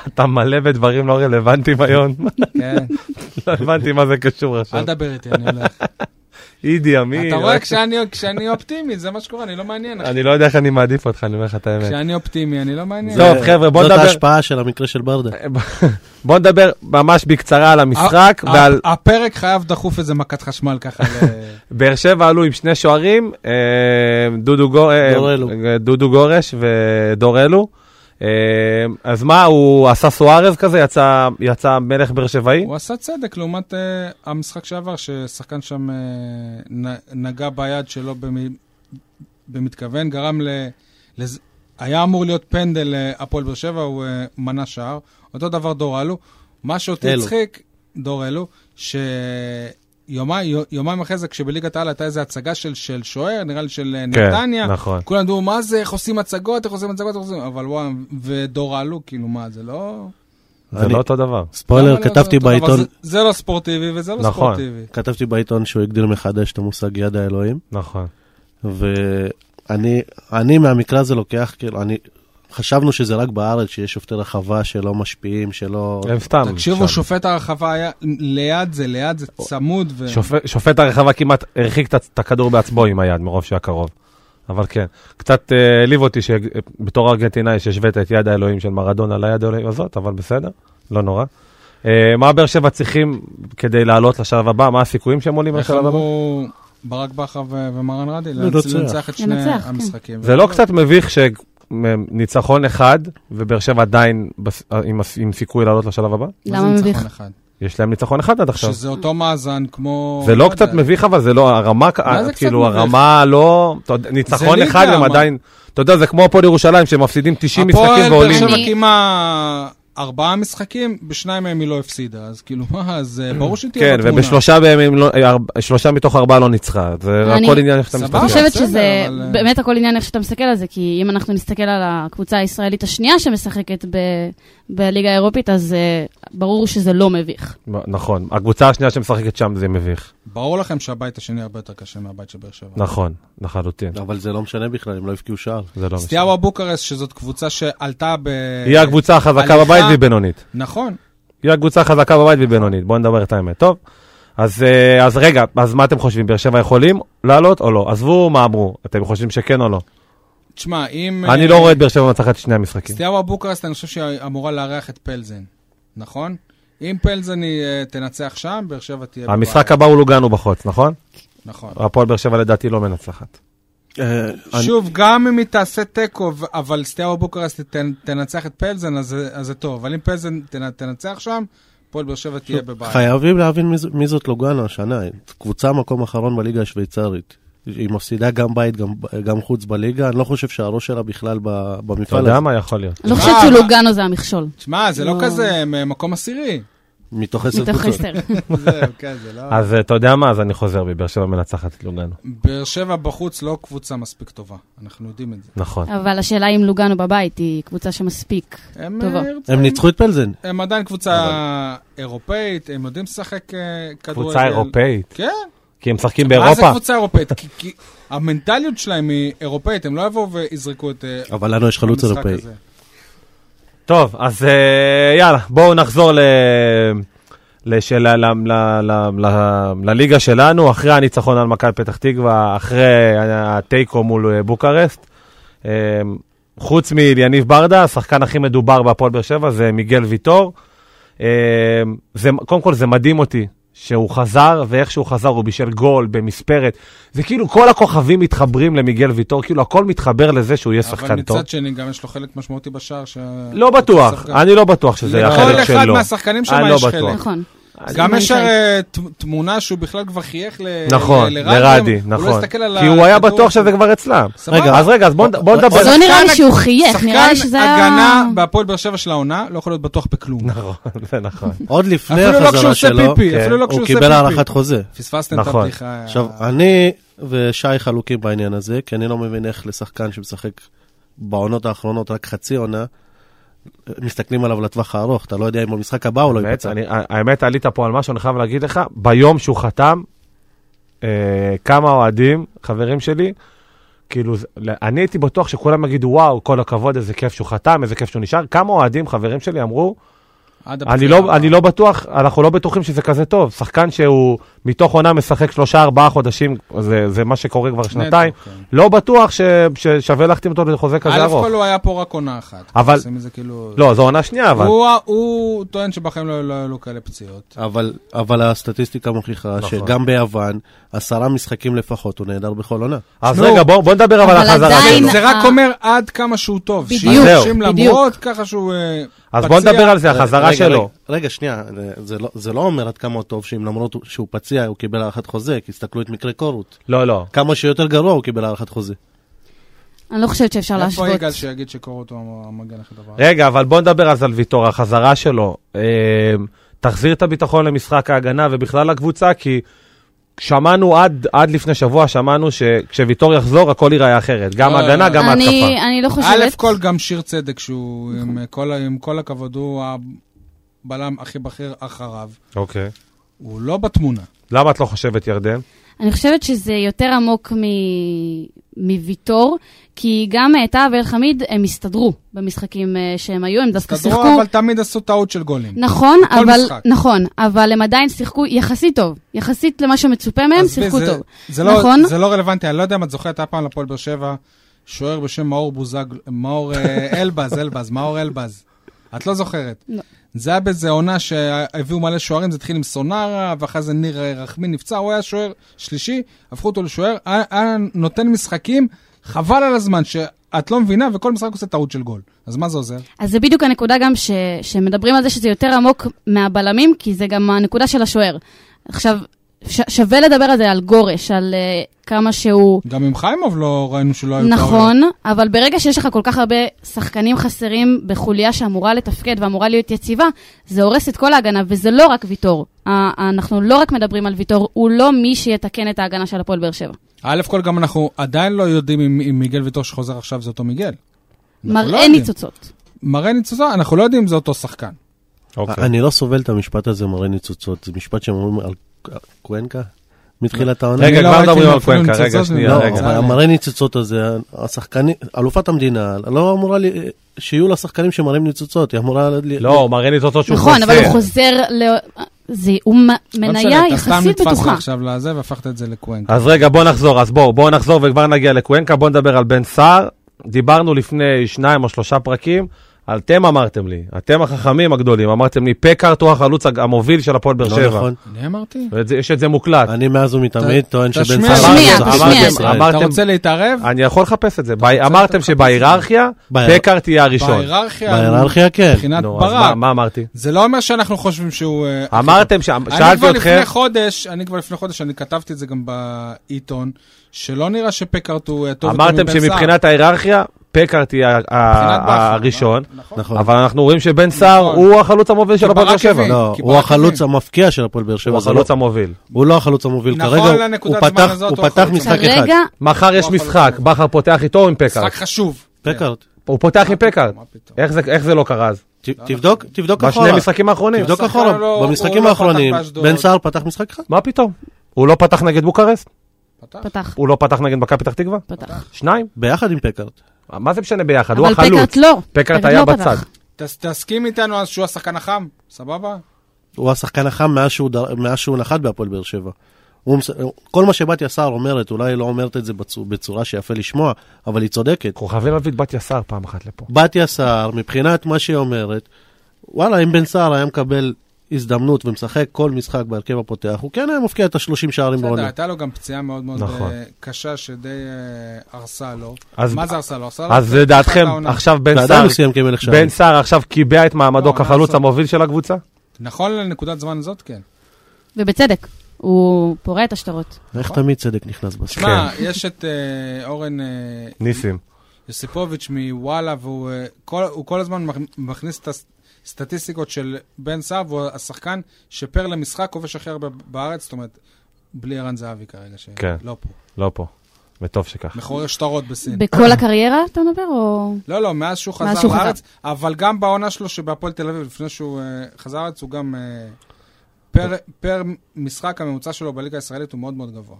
[SPEAKER 2] אתה מלא בדברים לא רלוונטיים היום.
[SPEAKER 3] כן,
[SPEAKER 2] לא הבנתי מה זה קשור עכשיו.
[SPEAKER 3] אל תדבר איתי, אני הולך.
[SPEAKER 2] אידי אמין.
[SPEAKER 3] אתה רואה,
[SPEAKER 2] רק-
[SPEAKER 3] כשאני- כשאני אופטימי, זה מה שקורה, אני לא מעניין.
[SPEAKER 2] אני לא יודע איך אני מעדיף אותך, אני אומר לך את האמת.
[SPEAKER 3] כשאני אופטימי, אני לא מעניין.
[SPEAKER 2] טוב, חבר'ה, בוא
[SPEAKER 4] אה, זאת
[SPEAKER 2] נדבר- אה,
[SPEAKER 4] ההשפעה של המקרה של ברדה.
[SPEAKER 2] בוא נדבר ממש בקצרה על המשחק
[SPEAKER 4] אה,
[SPEAKER 3] ה-
[SPEAKER 2] ועל
[SPEAKER 3] ה- הפרק חייב דחוף איזה מכת חשמל ככה. ל-
[SPEAKER 2] באר שבע עלו עם שני שוערים, אה, דודו גו- אה,
[SPEAKER 4] דורלו.
[SPEAKER 2] אה, דודו גורש ודורלו. אה, אז מה, הוא עשה סוארז כזה? יצא- יצא מלך באר שבעי?
[SPEAKER 3] הוא עשה צדק לעומת uh, המשחק שעבר, ששחקן שם uh, נ, נגע ביד שלו במ, במתכוון, גרם ל... לז... היה אמור להיות פנדל אה, הפועל באר שבע, הוא uh, מנע שער. אותו דבר דור אלו. מה שאותי
[SPEAKER 4] אלו.
[SPEAKER 3] הצחיק, דור אלו, שיומיים אחרי זה, כשבליגת העל הייתה איזו הצגה של, של שוער, נראה לי של אה,
[SPEAKER 2] כן,
[SPEAKER 3] נתניה.
[SPEAKER 2] נכון.
[SPEAKER 3] כולם אמרו, מה זה, איך עושים הצגות, איך עושים הצגות, איך עושים... אבל וואו, ודור אלו, כאילו, מה, זה לא...
[SPEAKER 2] זה
[SPEAKER 4] אני-
[SPEAKER 2] לא אותו דבר.
[SPEAKER 4] ספוילר,
[SPEAKER 3] למה לא
[SPEAKER 4] כתבתי
[SPEAKER 3] אותו דבר?
[SPEAKER 4] בעיתון,
[SPEAKER 3] זה- זה לא ספורטיבי וזה לא
[SPEAKER 2] נכון.
[SPEAKER 3] ספורטיבי.
[SPEAKER 4] כתבתי בעיתון שהוא הגדיר מחדש את המושג יד האלוהים,
[SPEAKER 2] נכון.
[SPEAKER 4] ואני אני מהמקרה הזה לוקח, כאילו, אני חשבנו שזה רק בארץ, שיש שופטי רחבה שלא משפיעים, שלא...
[SPEAKER 2] הם סתם.
[SPEAKER 3] תקשיבו,
[SPEAKER 2] שם.
[SPEAKER 3] שופט הרחבה היה ליד זה, ליד זה צמוד. ו-
[SPEAKER 2] שופט- שופט הרחבה כמעט הרחיק את ה- את הכדור בעצמו עם היד, מרוב שהיה קרוב. אבל כן, קצת אה, העליב אותי שבתור ארגנטינאי שהשווית את יד האלוהים של מרדונה ליד האלוהים הזאת, אבל בסדר, לא נורא. אה, מה באר שבע צריכים כדי לעלות לשלב הבא? מה הסיכויים שהם עולים
[SPEAKER 3] איך
[SPEAKER 2] לשלב הבא?
[SPEAKER 3] אמרו ברק בכר ו- ומרן רדי?
[SPEAKER 4] לנצח.
[SPEAKER 3] לנצח את שני
[SPEAKER 5] לנצח, כן.
[SPEAKER 3] המשחקים.
[SPEAKER 2] לא, זה לא קצת מביך שניצחון אחד, ובאר שבע עדיין בס... עם, הס- עם סיכוי לעלות לשלב הבא?
[SPEAKER 3] מה זה
[SPEAKER 5] למה
[SPEAKER 3] ניצחון
[SPEAKER 5] מביך?
[SPEAKER 3] אחד?
[SPEAKER 2] יש להם ניצחון אחד עד עכשיו.
[SPEAKER 3] שזה אותו מאזן כמו...
[SPEAKER 2] זה לא
[SPEAKER 3] יודע,
[SPEAKER 2] קצת מביך, אבל זה לא, הרמה,
[SPEAKER 3] מה זה קצת
[SPEAKER 2] כאילו
[SPEAKER 3] מביך?
[SPEAKER 2] הרמה לא, אתה יודע, ניצחון
[SPEAKER 3] ליגה,
[SPEAKER 2] אחד הם
[SPEAKER 3] מה?
[SPEAKER 2] עדיין, אתה יודע, זה כמו הפועל ירושלים, שמפסידים 90 משחקים
[SPEAKER 3] הפועל באר
[SPEAKER 2] ועולים.
[SPEAKER 3] שבע
[SPEAKER 5] אני-
[SPEAKER 3] קימה ארבעה משחקים, בשניים מהם היא לא הפסידה, אז כאילו, מה, אז אה, ברור שתהיה
[SPEAKER 2] כן,
[SPEAKER 3] לה תמונה.
[SPEAKER 2] ובשלושה מהם, הם לא- אה, שלושה מתוך ארבעה לא ניצחה, זה
[SPEAKER 5] אני-
[SPEAKER 2] הכל עניין איך שאתה
[SPEAKER 3] סבבה.
[SPEAKER 5] אני
[SPEAKER 2] מסתכל.
[SPEAKER 5] חושבת
[SPEAKER 3] בסדר,
[SPEAKER 5] שזה
[SPEAKER 3] אבל, אה,
[SPEAKER 5] באמת הכל עניין איך שאתה מסתכל על זה, כי אם אנחנו נסתכל על הקבוצה הישראלית השנייה שמשחקת ב- בליגה האירופית, אז אה, ברור שזה לא מביך.
[SPEAKER 2] נכון, הקבוצה השנייה שמשחקת שם זה מביך,
[SPEAKER 3] ברור לכם שהבית השני הרבה יותר קשה מהבית של באר שבע.
[SPEAKER 2] נכון, לחלוטין,
[SPEAKER 4] אבל זה לא משנה בכלל, הם לא הבקיעו שער.
[SPEAKER 2] זה לא משנה.
[SPEAKER 3] סטיאבה בוקרסט, שזאת קבוצה שעלתה ב...
[SPEAKER 2] היא הקבוצה החזקה
[SPEAKER 3] הליכה-
[SPEAKER 2] בבית והיא בינונית.
[SPEAKER 3] נכון.
[SPEAKER 2] היא הקבוצה החזקה בבית והיא בינונית, בואו נדבר את האמת. טוב, אז, אה, אז רגע, אז מה אתם חושבים, באר שבע יכולים לעלות או לא? עזבו מה אמרו, אתם חושבים שכן או לא?
[SPEAKER 3] תשמע, אם...
[SPEAKER 2] אני
[SPEAKER 3] אה,
[SPEAKER 2] לא רואה את באר שבע מנצחת את שני המשחקים.
[SPEAKER 3] סטיאבה בוקרסט, אני חושב שהיא אמורה לארח את פלזן, נכון? אם פלזן היא אה, תנצח שם, באר שבע תהיה... בבית.
[SPEAKER 2] המשחק הבא הוא לוגנו בחוץ, נכון?
[SPEAKER 3] נכון.
[SPEAKER 2] הפועל באר שבע לדעתי לא מנצחת.
[SPEAKER 4] אה, אני-
[SPEAKER 3] שוב, גם אם היא תעשה תיקו, ו- אבל סטיאבה בוקרסט תנ- תנצח את פלזן, אז זה- אז זה טוב. אבל אם פלזן תנ- תנצח שם, הפועל באר שבע תהיה בבית.
[SPEAKER 4] חייבים להבין מי ז- מי זאת לוגאנה השנה, קבוצה מקום אחרון בליגה השוויצרית. היא מפסידה גם בית, גם- גם חוץ בליגה, אני לא חושב שהראש שלה בכלל ב-
[SPEAKER 2] אתה
[SPEAKER 4] במפעל
[SPEAKER 2] יודע
[SPEAKER 4] הזה.
[SPEAKER 2] מה יכול להיות.
[SPEAKER 5] אני לא
[SPEAKER 3] מה?
[SPEAKER 5] חושבת שלוגאנו זה המכשול.
[SPEAKER 3] תשמע, זה לא
[SPEAKER 5] לא.
[SPEAKER 3] כזה מ- מקום עשירי.
[SPEAKER 4] מתוך עשר
[SPEAKER 5] מתוך
[SPEAKER 4] קבוצות.
[SPEAKER 5] הסתר.
[SPEAKER 3] זהו, כן, זה לא...
[SPEAKER 2] אז אה, אתה יודע מה, אז אני חוזר בי, באר שבע מנצחת את לוגנו.
[SPEAKER 3] באר שבע בחוץ לא קבוצה מספיק טובה, אנחנו יודעים את זה.
[SPEAKER 2] נכון.
[SPEAKER 5] אבל השאלה אם לוגאנו בבית היא קבוצה שמספיק.
[SPEAKER 3] הם,
[SPEAKER 5] טובה.
[SPEAKER 3] אה, ירצו-
[SPEAKER 4] הם ניצחו את פלזן.
[SPEAKER 3] הם עדיין קבוצה אירופאית, הם יודעים לשחק אה, כדורגל.
[SPEAKER 2] קבוצה אירופאית,
[SPEAKER 3] כן.
[SPEAKER 2] כי הם משחקים
[SPEAKER 3] מה זה
[SPEAKER 2] באירופה.
[SPEAKER 3] קבוצה אירופאית? כי, כי המנטליות שלהם היא אירופאית, הם לא יבואו ויזרקו את אה,
[SPEAKER 2] לא,
[SPEAKER 4] אבל לנו יש חלוץ
[SPEAKER 3] המשחק
[SPEAKER 4] אירופאי.
[SPEAKER 3] הזה.
[SPEAKER 2] טוב, אז אה, יאללה, בואו נחזור ל... לשל... ל... ל... ל... ל... לליגה שלנו, אחרי הניצחון על מכבי פתח תקווה, אחרי התיקו מול אה, בוקרשט. אה, חוץ מיניב ברדה, השחקן הכי מדובר בהפועל באר שבע זה מיגל ויטור. אה, זה, קודם כל זה מדהים אותי שהוא חזר, ואיך שהוא חזר הוא בישל גול במספרת. זה כאילו כל הכוכבים מתחברים למיגל ויטור, כאילו הכל מתחבר לזה שהוא יהיה
[SPEAKER 3] אבל
[SPEAKER 2] שחקן טוב.
[SPEAKER 3] מצד שני, גם יש לו חלק משמעותי בשער. ש...
[SPEAKER 2] לא בטוח, אני לא בטוח שזה היה
[SPEAKER 3] לכל
[SPEAKER 2] חלק שלו.
[SPEAKER 3] אחד מהשחקנים שם
[SPEAKER 2] אני לא
[SPEAKER 3] יש
[SPEAKER 2] בטוח.
[SPEAKER 3] חלק.
[SPEAKER 5] נכון.
[SPEAKER 3] גם
[SPEAKER 5] אני
[SPEAKER 3] יש
[SPEAKER 5] איתי.
[SPEAKER 3] הרי ת- תמונה שהוא בכלל כבר חייך ל-
[SPEAKER 2] נכון,
[SPEAKER 3] ל-
[SPEAKER 2] לרדי,
[SPEAKER 3] הוא לא
[SPEAKER 2] נכון.
[SPEAKER 3] הסתכל על
[SPEAKER 2] כי הוא היה
[SPEAKER 3] הכדור.
[SPEAKER 2] בטוח שזה כבר אצלם.
[SPEAKER 3] סבבה.
[SPEAKER 2] רגע, אז רגע, אז בוא נד- בוא נדבר.
[SPEAKER 5] לא נראה לי
[SPEAKER 3] שחקן-
[SPEAKER 5] שהוא חייך, נראה לי שזה היה...
[SPEAKER 3] שחקן הגנה בהפועל באר שבע של העונה, לא יכול להיות בטוח בכלום.
[SPEAKER 2] נכון, זה נכון.
[SPEAKER 4] עוד לפני
[SPEAKER 3] אפילו לא כשהוא
[SPEAKER 4] החזרה
[SPEAKER 3] עושה
[SPEAKER 4] שלו,
[SPEAKER 3] פיפי,
[SPEAKER 2] כן,
[SPEAKER 3] אפילו לא כשהוא
[SPEAKER 4] הוא
[SPEAKER 3] עושה
[SPEAKER 4] קיבל
[SPEAKER 3] פיפי.
[SPEAKER 4] הארכת חוזה.
[SPEAKER 3] פספסתם את
[SPEAKER 2] נכון.
[SPEAKER 3] הבדיחה. אה,
[SPEAKER 4] עכשיו, אני ושי חלוקים בעניין הזה, כי אני לא מבין איך לשחקן שמשחק בעונות האחרונות רק חצי עונה, מסתכלים עליו לטווח הארוך, אתה לא יודע אם במשחק הבא הוא לא
[SPEAKER 2] באמת,
[SPEAKER 4] ייפצע.
[SPEAKER 2] אני- האמת, עלית פה על משהו, אני חייב להגיד לך, ביום שהוא חתם, אה, כמה אוהדים, חברים שלי, כאילו, זה- אני הייתי בטוח שכולם יגידו, וואו, כל הכבוד, איזה כיף שהוא חתם, איזה כיף שהוא נשאר. כמה אוהדים, חברים שלי, אמרו,
[SPEAKER 3] עד
[SPEAKER 2] אני
[SPEAKER 3] הבחירה.
[SPEAKER 2] לא, אני לא בטוח, אנחנו לא בטוחים שזה כזה טוב. שחקן שהוא מתוך עונה משחק שלושה, ארבעה חודשים, זה, זה מה שקורה כבר שנתיים,
[SPEAKER 3] נטו, כן.
[SPEAKER 2] לא בטוח ש, ששווה להחתים אותו לחוזה כזה
[SPEAKER 3] א'
[SPEAKER 2] ארוך.
[SPEAKER 3] כל הוא היה פה רק עונה אחת.
[SPEAKER 2] אבל-
[SPEAKER 3] עושים מזה כאילו...
[SPEAKER 2] לא, זו עונה שנייה, אבל...
[SPEAKER 3] הוא- הוא טוען שבחיים לא לא היו לו כאלה פציעות.
[SPEAKER 4] אבל, אבל הסטטיסטיקה מוכיחה
[SPEAKER 2] נכון.
[SPEAKER 4] שגם ביוון, עשרה משחקים לפחות הוא נהדר בכל עונה.
[SPEAKER 2] אז
[SPEAKER 3] תשמעו,
[SPEAKER 2] רגע, בוא, בוא נדבר אבל על
[SPEAKER 5] אבל
[SPEAKER 2] החזרה
[SPEAKER 5] עדיין-
[SPEAKER 2] שלו.
[SPEAKER 3] זה
[SPEAKER 5] אה.
[SPEAKER 3] רק אומר עד כמה שהוא טוב.
[SPEAKER 5] בדיוק,
[SPEAKER 3] שיהיו
[SPEAKER 2] זהו.
[SPEAKER 3] אנשים
[SPEAKER 5] בדיוק.
[SPEAKER 3] למרות ככה שהוא אה, פציע.
[SPEAKER 2] אז בוא נדבר על זה, החזרה
[SPEAKER 4] רגע,
[SPEAKER 2] שלו.
[SPEAKER 4] רגע, רגע, שנייה, זה לא, זה לא אומר עד כמה הוא טוב, שאם למרות שהוא פציע הוא קיבל הארכת חוזה, כי הסתכלו את מקרה קורות.
[SPEAKER 2] לא, לא.
[SPEAKER 4] כמה שיותר גרוע הוא קיבל הארכת חוזה.
[SPEAKER 5] אני לא חושבת שאפשר
[SPEAKER 3] איפה
[SPEAKER 5] להשוות.
[SPEAKER 3] יגאל שיגיד שקורות הוא המגן הכי דבר?
[SPEAKER 2] רגע, אבל בוא נדבר אז על ויטור, החזרה שלו. אה, תחזיר את הביטחון למשחק ההגנה ובכלל לקבוצה, כי שמענו עד, עד לפני שבוע, שמענו שכשוויטור יחזור, הכל ייראה אחרת. גם
[SPEAKER 3] לא,
[SPEAKER 2] ההגנה,
[SPEAKER 3] לא.
[SPEAKER 2] גם ההתקפה.
[SPEAKER 5] אני, אני לא חושבת... נכון.
[SPEAKER 3] א' כל גם שיר צדק שהוא, עם אה, כל- עם כל הכבוד, הוא הבלם הכי בכיר אחריו.
[SPEAKER 2] אוקיי.
[SPEAKER 3] הוא לא בתמונה.
[SPEAKER 2] למה את לא חושבת, ירדן?
[SPEAKER 5] אני חושבת שזה יותר עמוק מ... מוויטור, כי גם אה, טאה ואלחמיד, הם הסתדרו במשחקים אה, שהם היו, הם דווקא שיחקו...
[SPEAKER 3] הסתדרו, אבל תמיד עשו טעות של גולים.
[SPEAKER 5] נכון,
[SPEAKER 3] כל
[SPEAKER 5] אבל,
[SPEAKER 3] משחק.
[SPEAKER 5] נכון, אבל הם עדיין שיחקו יחסית טוב. יחסית למה שמצופה מהם,
[SPEAKER 3] עזבי,
[SPEAKER 5] שיחקו
[SPEAKER 3] זה-
[SPEAKER 5] טוב.
[SPEAKER 3] זה לא-
[SPEAKER 5] נכון?
[SPEAKER 3] זה לא רלוונטי, אני לא יודע אם את זוכרת, היה פעם לפועל באר שבע שוער בשם מאור בוזגלו, מאור אה, אלבז, אלבז, מאור אלבז. את לא זוכרת.
[SPEAKER 5] לא.
[SPEAKER 3] זה היה באיזה עונה שהביאו מלא שוערים, זה התחיל עם סונארה, ואחרי זה ניר אה, רחמי נפצע, הוא היה שוער שלישי, הפכו אותו לשוער, היה- היה נותן משחקים, חבל על הזמן, שאת לא מבינה, וכל משחק עושה טעות של גול. אז מה זה עוזר?
[SPEAKER 5] אז זה בדיוק הנקודה גם ש, שמדברים על זה שזה יותר עמוק מהבלמים, כי זה גם הנקודה של השוער. עכשיו, ש, שווה לדבר על זה, על גורש, על uh, כמה שהוא...
[SPEAKER 3] גם עם חיימוב לא ראינו שלא היו
[SPEAKER 5] נכון, אבל ברגע שיש לך כל כך הרבה שחקנים חסרים בחוליה שאמורה לתפקד ואמורה להיות יציבה, זה הורס את כל ההגנה, וזה לא רק ויטור. ה- אנחנו לא רק מדברים על ויטור, הוא לא מי שיתקן את ההגנה של הפועל באר שבע.
[SPEAKER 3] א' כל גם אנחנו עדיין לא יודעים אם אם מיגל ויטור שחוזר עכשיו זה אותו מיגל. לא
[SPEAKER 5] מראה
[SPEAKER 3] יודעים.
[SPEAKER 5] ניצוצות.
[SPEAKER 3] מראה ניצוצה, אנחנו לא יודעים אם זה אותו שחקן.
[SPEAKER 2] אוקיי.
[SPEAKER 4] אני לא סובל את המשפט הזה מראה ניצוצות, זה משפט שהם אומרים על קוונקה מתחילת העונה.
[SPEAKER 2] רגע,
[SPEAKER 3] אני לא
[SPEAKER 2] כבר
[SPEAKER 3] ראיתי
[SPEAKER 2] מדברים על
[SPEAKER 3] אפילו
[SPEAKER 2] קוונקה,
[SPEAKER 3] ניצוצות
[SPEAKER 2] רגע,
[SPEAKER 3] מזה.
[SPEAKER 2] שנייה,
[SPEAKER 4] לא,
[SPEAKER 2] רגע.
[SPEAKER 4] אבל המראה ניצוצות הזה, השחקנים, אלופת המדינה, לא אמורה לי, שיהיו לה שחקנים שמראים ניצוצות, היא אמורה לי...
[SPEAKER 2] לא, הוא מראה לי את אותו שהוא חוזר.
[SPEAKER 5] נכון, אבל הוא חוזר ל... זה, הוא מ-
[SPEAKER 3] לא
[SPEAKER 5] מניה
[SPEAKER 3] משנה, אתה סתם
[SPEAKER 5] יחסית
[SPEAKER 3] נתפסת
[SPEAKER 5] בטוחה.
[SPEAKER 3] עכשיו לזה והפכת את זה לקוונקה.
[SPEAKER 2] אז רגע, בוא נחזור, אז בואו, בואו נחזור וכבר נגיע לקוונקה, בואו נדבר על בן סער. דיברנו לפני שניים או שלושה פרקים, על אתם אמרתם לי, אתם החכמים הגדולים, אמרתם לי, פקארט הוא החלוץ הג- המוביל של הפועל באר
[SPEAKER 4] לא
[SPEAKER 2] שבע.
[SPEAKER 4] נכון.
[SPEAKER 3] אני אמרתי?
[SPEAKER 2] ואת זה- יש את זה מוקלט.
[SPEAKER 4] אני מאז ומתמיד טוען שבן
[SPEAKER 3] תשמיע,
[SPEAKER 4] סער...
[SPEAKER 5] תשמיע,
[SPEAKER 4] אמרתם-
[SPEAKER 5] תשמיע.
[SPEAKER 4] אמרתם-
[SPEAKER 2] אמרתם-
[SPEAKER 3] אתה רוצה להתערב?
[SPEAKER 2] אני יכול לחפש את זה. ב- אמרתם
[SPEAKER 3] לחפש את
[SPEAKER 2] שבהיררכיה,
[SPEAKER 4] בהיר-
[SPEAKER 2] פקארט יהיה הראשון.
[SPEAKER 3] בהיררכיה,
[SPEAKER 4] בהיררכיה כן.
[SPEAKER 3] מבחינת
[SPEAKER 2] נו, אז
[SPEAKER 3] ברק.
[SPEAKER 2] מה- מה אמרתי?
[SPEAKER 3] זה לא אומר שאנחנו חושבים שהוא... אה, הכי
[SPEAKER 2] אמרתם, ש-
[SPEAKER 3] טוב. אני
[SPEAKER 2] שאלתי
[SPEAKER 3] כבר
[SPEAKER 2] אתכם,
[SPEAKER 3] לפני חודש, אני כבר לפני חודש, אני כתבתי את זה גם בעיתון, שלא נראה שפקארט הוא אה, טוב יותר מבן
[SPEAKER 2] אמרתם
[SPEAKER 3] סער.
[SPEAKER 2] שמבחינת ההיררכיה, פקארט יהיה ה- ה-
[SPEAKER 3] מבחינת בכר,
[SPEAKER 2] הראשון.
[SPEAKER 3] נכון.
[SPEAKER 4] נכון.
[SPEAKER 2] אבל אנחנו רואים שבן סער
[SPEAKER 3] נכון.
[SPEAKER 2] הוא החלוץ המוביל של הפועל באר
[SPEAKER 3] ברק
[SPEAKER 2] שבע.
[SPEAKER 3] הביא.
[SPEAKER 2] לא,
[SPEAKER 4] לא,
[SPEAKER 3] כי
[SPEAKER 4] הוא
[SPEAKER 3] ברק
[SPEAKER 4] החלוץ
[SPEAKER 3] הביא.
[SPEAKER 4] המוביל של הפועל באר שבע,
[SPEAKER 2] הוא
[SPEAKER 4] זה לא-
[SPEAKER 2] החלוץ המוביל.
[SPEAKER 4] הוא לא החלוץ המוביל,
[SPEAKER 3] נכון,
[SPEAKER 4] כרגע הוא
[SPEAKER 3] לנקודת זמן
[SPEAKER 4] פתח-
[SPEAKER 3] הזאת
[SPEAKER 4] הוא
[SPEAKER 3] הוא
[SPEAKER 4] פתח
[SPEAKER 3] החלוץ
[SPEAKER 4] משחק
[SPEAKER 3] המוביל.
[SPEAKER 4] אחד.
[SPEAKER 5] כרגע,
[SPEAKER 2] מחר יש
[SPEAKER 3] החלוץ
[SPEAKER 2] משחק,
[SPEAKER 3] המוביל.
[SPEAKER 2] בכר פותח איתו או עם
[SPEAKER 3] משחק
[SPEAKER 2] פקארט?
[SPEAKER 3] חשוב. כן.
[SPEAKER 4] פקארט,
[SPEAKER 2] הוא פותח עם פקארט.
[SPEAKER 3] מה פתאום.
[SPEAKER 2] איך זה- איך זה לא קרה אז?
[SPEAKER 4] ת- תבדוק, תבדוק
[SPEAKER 2] בשני
[SPEAKER 4] אחורה,
[SPEAKER 2] המשחקים האחרונים.
[SPEAKER 4] תבדוק
[SPEAKER 3] השחקן
[SPEAKER 4] אחורה,
[SPEAKER 3] לא- הוא
[SPEAKER 4] במשחקים
[SPEAKER 3] לא
[SPEAKER 4] האחרונים,
[SPEAKER 3] פתח באשדוד.
[SPEAKER 4] בן סער פתח משחק אחד.
[SPEAKER 2] מה פתאום? הוא לא פתח נגד בוקרסט?
[SPEAKER 3] פתח.
[SPEAKER 5] פתח,
[SPEAKER 2] הוא לא פתח נגד מכבי פתח תקווה?
[SPEAKER 5] פתח.
[SPEAKER 2] שניים?
[SPEAKER 4] ביחד עם פקארט.
[SPEAKER 2] מה זה משנה ביחד? הוא
[SPEAKER 5] אבל
[SPEAKER 2] החלוץ.
[SPEAKER 5] פקארט לא.
[SPEAKER 2] פקארט היה
[SPEAKER 5] לא פתח.
[SPEAKER 2] בצד.
[SPEAKER 3] תס- תסכים איתנו אז שהוא השחקן החם, סבבה?
[SPEAKER 4] הוא השחקן החם מאז שהוא, דר... מאז שהוא נחת בהפועל באר שבע. הוא... מס- כל מה שבתיה סער אומרת, אולי היא לא אומרת את זה בצורה, בצורה שיפה לשמוע, אבל היא צודקת.
[SPEAKER 2] אנחנו חייבים להביא את בת יסר פעם אחת לפה.
[SPEAKER 4] בתיה סער, מבחינת מה שהיא אומרת, וואלה, אם בן סער היה מקבל הזדמנות ומשחק כל משחק בהרכב הפותח, הוא כן היה מפקיע את ה-30 שערים
[SPEAKER 3] בסדר,
[SPEAKER 4] בעונה.
[SPEAKER 3] הייתה לו גם פציעה מאוד מאוד
[SPEAKER 2] נכון.
[SPEAKER 3] אה, קשה שדי אה, הרסה לו.
[SPEAKER 2] אז-
[SPEAKER 3] מה זה הרסה לו? הרסה לו
[SPEAKER 2] אז
[SPEAKER 3] את
[SPEAKER 2] לדעתכם,
[SPEAKER 3] העונה.
[SPEAKER 2] עכשיו בן
[SPEAKER 4] ועדיין
[SPEAKER 2] סער,
[SPEAKER 4] הוא סיים כמלך שערים.
[SPEAKER 2] בן סער עכשיו קיבע את מעמדו
[SPEAKER 3] לא, מה
[SPEAKER 2] כחלוץ
[SPEAKER 3] לעשות?
[SPEAKER 2] המוביל של הקבוצה?
[SPEAKER 3] נכון לנקודת זמן הזאת, כן.
[SPEAKER 5] ובצדק, הוא פורע את השטרות.
[SPEAKER 4] איך תמיד צדק נכנס בסוף.
[SPEAKER 3] שמע, יש את אה, אורן אה,
[SPEAKER 2] ניסים.
[SPEAKER 3] יוסיפוביץ' מוואלה, והוא אה, כל- הוא כל הזמן מכ- מכניס את הסטטיסטיקות של בן סער, והוא השחקן שפר למשחק כובש הכי הרבה בארץ, זאת אומרת, בלי ערן זהבי כרגע,
[SPEAKER 2] כן.
[SPEAKER 3] שלא פה.
[SPEAKER 2] לא פה. וטוב שכך.
[SPEAKER 3] מחורר שטרות בסין.
[SPEAKER 5] בכל הקריירה אתה מדבר, או...
[SPEAKER 3] לא, לא, מאז שהוא
[SPEAKER 5] מאז
[SPEAKER 3] חזר
[SPEAKER 5] שהוא חזר.
[SPEAKER 3] לארץ, אבל גם בעונה שלו שבהפועל תל אביב, לפני שהוא אה, חזר לארץ, הוא גם... אה, פר- פר משחק הממוצע שלו בליגה הישראלית הוא מאוד מאוד גבוה.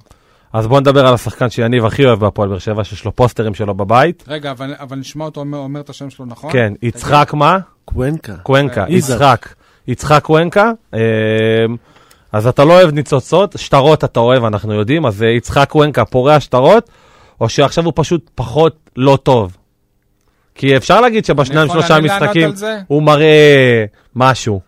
[SPEAKER 2] אז בואו נדבר על השחקן שיניב הכי אוהב בהפועל באר שבע, שיש לו פוסטרים שלו בבית.
[SPEAKER 3] רגע, אבל אבל נשמע אותו אומר- אומר את השם שלו, נכון?
[SPEAKER 2] כן, יצחק מה?
[SPEAKER 4] קוונקה.
[SPEAKER 3] אה,
[SPEAKER 2] קוונקה,
[SPEAKER 4] איזק.
[SPEAKER 2] יצחק. יצחק קוונקה. אמ, אז אתה לא אוהב ניצוצות, שטרות אתה אוהב, אנחנו יודעים, אז אה, יצחק קוונקה פורע שטרות, או שעכשיו הוא פשוט פחות לא טוב. כי אפשר להגיד שבשניים
[SPEAKER 3] יכול
[SPEAKER 2] שלושה
[SPEAKER 3] אני לענות
[SPEAKER 2] משחקים
[SPEAKER 3] על זה?
[SPEAKER 2] הוא מראה משהו,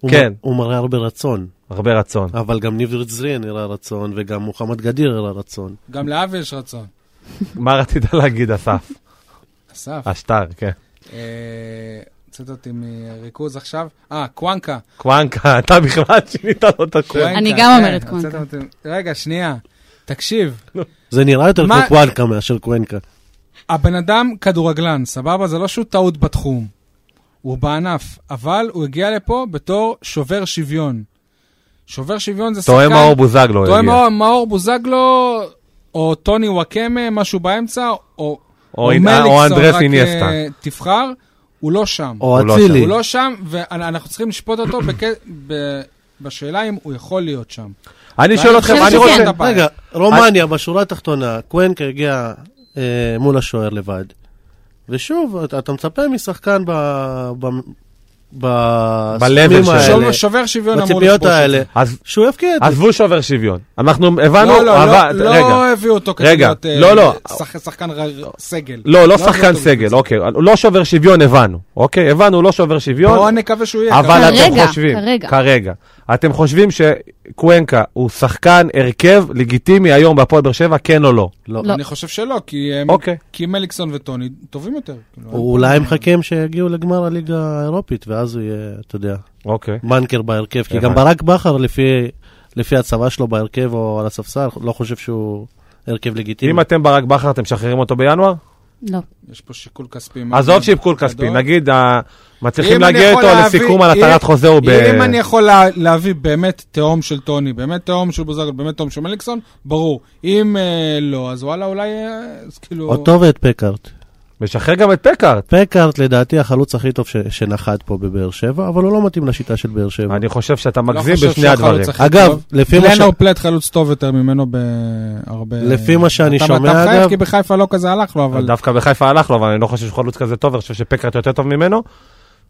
[SPEAKER 4] הוא
[SPEAKER 2] כן.
[SPEAKER 4] מ- הוא מראה הרבה רצון,
[SPEAKER 2] הרבה רצון.
[SPEAKER 4] אבל גם ניב זרין הראה רצון, וגם מוחמד גדיר הראה רצון.
[SPEAKER 3] גם לאבי יש רצון.
[SPEAKER 2] מה רצית להגיד, אסף?
[SPEAKER 3] אסף.
[SPEAKER 2] השטר, כן.
[SPEAKER 3] אה, הוצאת אותי מריכוז עכשיו. אה, קוואנקה.
[SPEAKER 2] כן. קוונקה, אתה בכלל שינית לו את הכול.
[SPEAKER 3] קוואנקה,
[SPEAKER 5] אני גם
[SPEAKER 3] כן,
[SPEAKER 5] אומרת קוואנקה.
[SPEAKER 3] הוצאת אותי- רגע, שנייה. תקשיב,
[SPEAKER 4] זה נראה יותר
[SPEAKER 3] מה-
[SPEAKER 4] כמו קוונקה מאשר קוונקה.
[SPEAKER 3] הבן אדם כדורגלן, סבבה? זה לא שהוא טעות בתחום. הוא בענף, אבל הוא הגיע לפה בתור שובר שוויון. שובר שוויון זה שחקן...
[SPEAKER 2] טועה מאור בוזגלו
[SPEAKER 3] טועה
[SPEAKER 2] הגיע.
[SPEAKER 3] מאור- מאור בוזגלו, או טוני וואקמה, משהו באמצע, או...
[SPEAKER 2] או אינ- או אנדרס
[SPEAKER 3] רק,
[SPEAKER 2] איניאסטה.
[SPEAKER 3] אה, תבחר, הוא לא שם.
[SPEAKER 4] או
[SPEAKER 2] הוא לא
[SPEAKER 4] אצילי.
[SPEAKER 3] הוא לא שם, ואנחנו צריכים לשפוט אותו בכ- ב- בשאלה אם הוא יכול להיות שם.
[SPEAKER 2] אני שואל אתכם,
[SPEAKER 5] חושבת
[SPEAKER 2] אני
[SPEAKER 5] שכן.
[SPEAKER 2] רוצה...
[SPEAKER 3] הבעיה.
[SPEAKER 4] רגע, רומניה, בשורה התחתונה, קוונקה הגיע אה, מול השוער לבד. ושוב, אתה אתה מצפה משחקן ב... ב... ב-
[SPEAKER 2] ב-level
[SPEAKER 4] בסכומים
[SPEAKER 2] שלו.
[SPEAKER 4] האלה,
[SPEAKER 3] שובר שוויון אמור
[SPEAKER 4] בציפיות
[SPEAKER 3] לכבוש את
[SPEAKER 4] האלה,
[SPEAKER 2] אז
[SPEAKER 4] שהוא יבקיע את זה.
[SPEAKER 2] עזבו שובר שוויון. אנחנו הבנו,
[SPEAKER 3] לא, לא,
[SPEAKER 2] אבל-
[SPEAKER 3] לא,
[SPEAKER 2] רגע.
[SPEAKER 3] לא הביאו אותו כדי
[SPEAKER 2] רגע,
[SPEAKER 3] להיות אה,
[SPEAKER 2] לא, לא.
[SPEAKER 3] שח- שחקן ר- סגל.
[SPEAKER 2] לא, לא
[SPEAKER 3] הביאו
[SPEAKER 2] שחקן
[SPEAKER 3] אותו
[SPEAKER 2] סגל,
[SPEAKER 3] בקבוצה.
[SPEAKER 2] אוקיי. לא שובר שוויון, הבנו. אוקיי, הבנו, לא שובר
[SPEAKER 3] בואו
[SPEAKER 2] שוויון,
[SPEAKER 3] נקווה שהוא יהיה.
[SPEAKER 2] אבל
[SPEAKER 5] כרגע,
[SPEAKER 2] אתם חושבים...
[SPEAKER 5] כרגע.
[SPEAKER 2] כרגע. אתם חושבים שקוונקה הוא שחקן הרכב לגיטימי היום בהפועל באר שבע, כן או לא?
[SPEAKER 4] לא.
[SPEAKER 5] לא.
[SPEAKER 3] אני חושב שלא, כי הם-
[SPEAKER 2] אוקיי.
[SPEAKER 3] כי מליקסון וטוני טובים יותר. כאילו,
[SPEAKER 4] אולי הם מחכים שיגיעו לגמר הליגה האירופית, ואז הוא יהיה, אתה יודע,
[SPEAKER 2] אוקיי.
[SPEAKER 4] בנקר בהרכב. כי
[SPEAKER 2] הבנתי.
[SPEAKER 4] גם ברק בכר, לפי- לפי הצבא שלו בהרכב או על הספסל, לא חושב שהוא הרכב
[SPEAKER 2] אם
[SPEAKER 3] כן.
[SPEAKER 4] לגיטימי.
[SPEAKER 2] אתם ברק בכר, אתם משחררים אותו בינואר?
[SPEAKER 5] לא.
[SPEAKER 3] יש פה שיקול כספי.
[SPEAKER 2] עזוב
[SPEAKER 3] מאוד
[SPEAKER 2] שיקול
[SPEAKER 3] גדול.
[SPEAKER 2] כספי, נגיד, ה- מצליחים
[SPEAKER 3] אם אני
[SPEAKER 2] להגיע
[SPEAKER 3] יכול
[SPEAKER 2] איתו
[SPEAKER 3] להביא-
[SPEAKER 2] לסיכום על
[SPEAKER 3] אם-
[SPEAKER 2] התרת חוזה הוא ב...
[SPEAKER 3] אם אני יכול לה- להביא באמת תהום של טוני, באמת תהום של בוזגלו, באמת תהום של מליקסון, ברור. אם אה, לא, אז וואלה, אולי... אה, אז כאילו...
[SPEAKER 4] אותו ואת פקארט.
[SPEAKER 2] משחרר גם את פקארט.
[SPEAKER 4] פקארט לדעתי החלוץ הכי טוב ש- שנחת פה בבאר שבע, אבל הוא לא מתאים לשיטה של באר שבע.
[SPEAKER 2] אני חושב שאתה
[SPEAKER 3] לא
[SPEAKER 2] מגזים
[SPEAKER 3] חושב
[SPEAKER 2] בשני
[SPEAKER 3] שהחלוץ
[SPEAKER 2] הדברים.
[SPEAKER 3] הכי
[SPEAKER 4] אגב,
[SPEAKER 3] טוב.
[SPEAKER 4] לפי מה ש...
[SPEAKER 3] לנו פלט חלוץ טוב יותר ממנו בהרבה...
[SPEAKER 4] לפי מה שאני
[SPEAKER 3] אתה-
[SPEAKER 4] שומע,
[SPEAKER 3] אתה מחייך
[SPEAKER 4] אגב-
[SPEAKER 3] כי בחיפה לא כזה הלך לו, אבל...
[SPEAKER 2] דווקא בחיפה הלך לו, אבל אני לא חושב שהוא חלוץ כזה טוב, אני חושב שפקארט יותר טוב ממנו.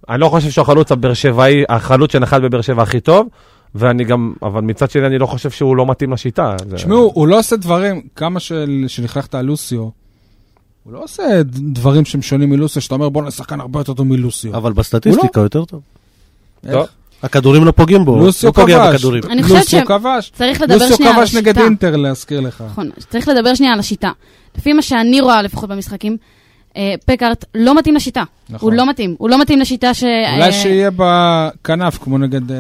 [SPEAKER 2] אני לא חושב שהוא החלוץ הבאר שבעי, החלוץ שנחת בבאר שבע הכי טוב, ואני גם, אבל מצד שני אני לא חושב שהוא לא מתאים לשיטה. זה-
[SPEAKER 3] תשמעו, הוא לא עושה דברים, כמה של- שלכלכת על לוסיו, הוא לא עושה ד- דברים שהם שונים מלוסיו, שאתה אומר בואנה, שחקן הרבה יותר טוב מלוסיו.
[SPEAKER 4] אבל בסטטיסטיקה יותר טוב.
[SPEAKER 2] טוב.
[SPEAKER 4] הכדורים לא פוגעים בו, הוא
[SPEAKER 3] לוסיו
[SPEAKER 4] פוגע
[SPEAKER 3] כבש.
[SPEAKER 4] בכדורים.
[SPEAKER 5] אני חושבת
[SPEAKER 3] לוסיו
[SPEAKER 5] ש-
[SPEAKER 3] כבש.
[SPEAKER 5] צריך לדבר
[SPEAKER 3] לוסיו
[SPEAKER 5] שנייה על
[SPEAKER 3] כבש
[SPEAKER 5] השיטה.
[SPEAKER 3] נגד אינטר, להזכיר לך.
[SPEAKER 5] נכון, צריך לדבר שנייה על השיטה. לפי מה שאני רואה, לפחות במשחקים, אה, פקארט לא מתאים לשיטה.
[SPEAKER 3] נכון.
[SPEAKER 5] הוא לא מתאים. הוא לא מתאים לשיטה ש... אה,
[SPEAKER 3] אולי שיהיה בכנף, כמו נגד אה,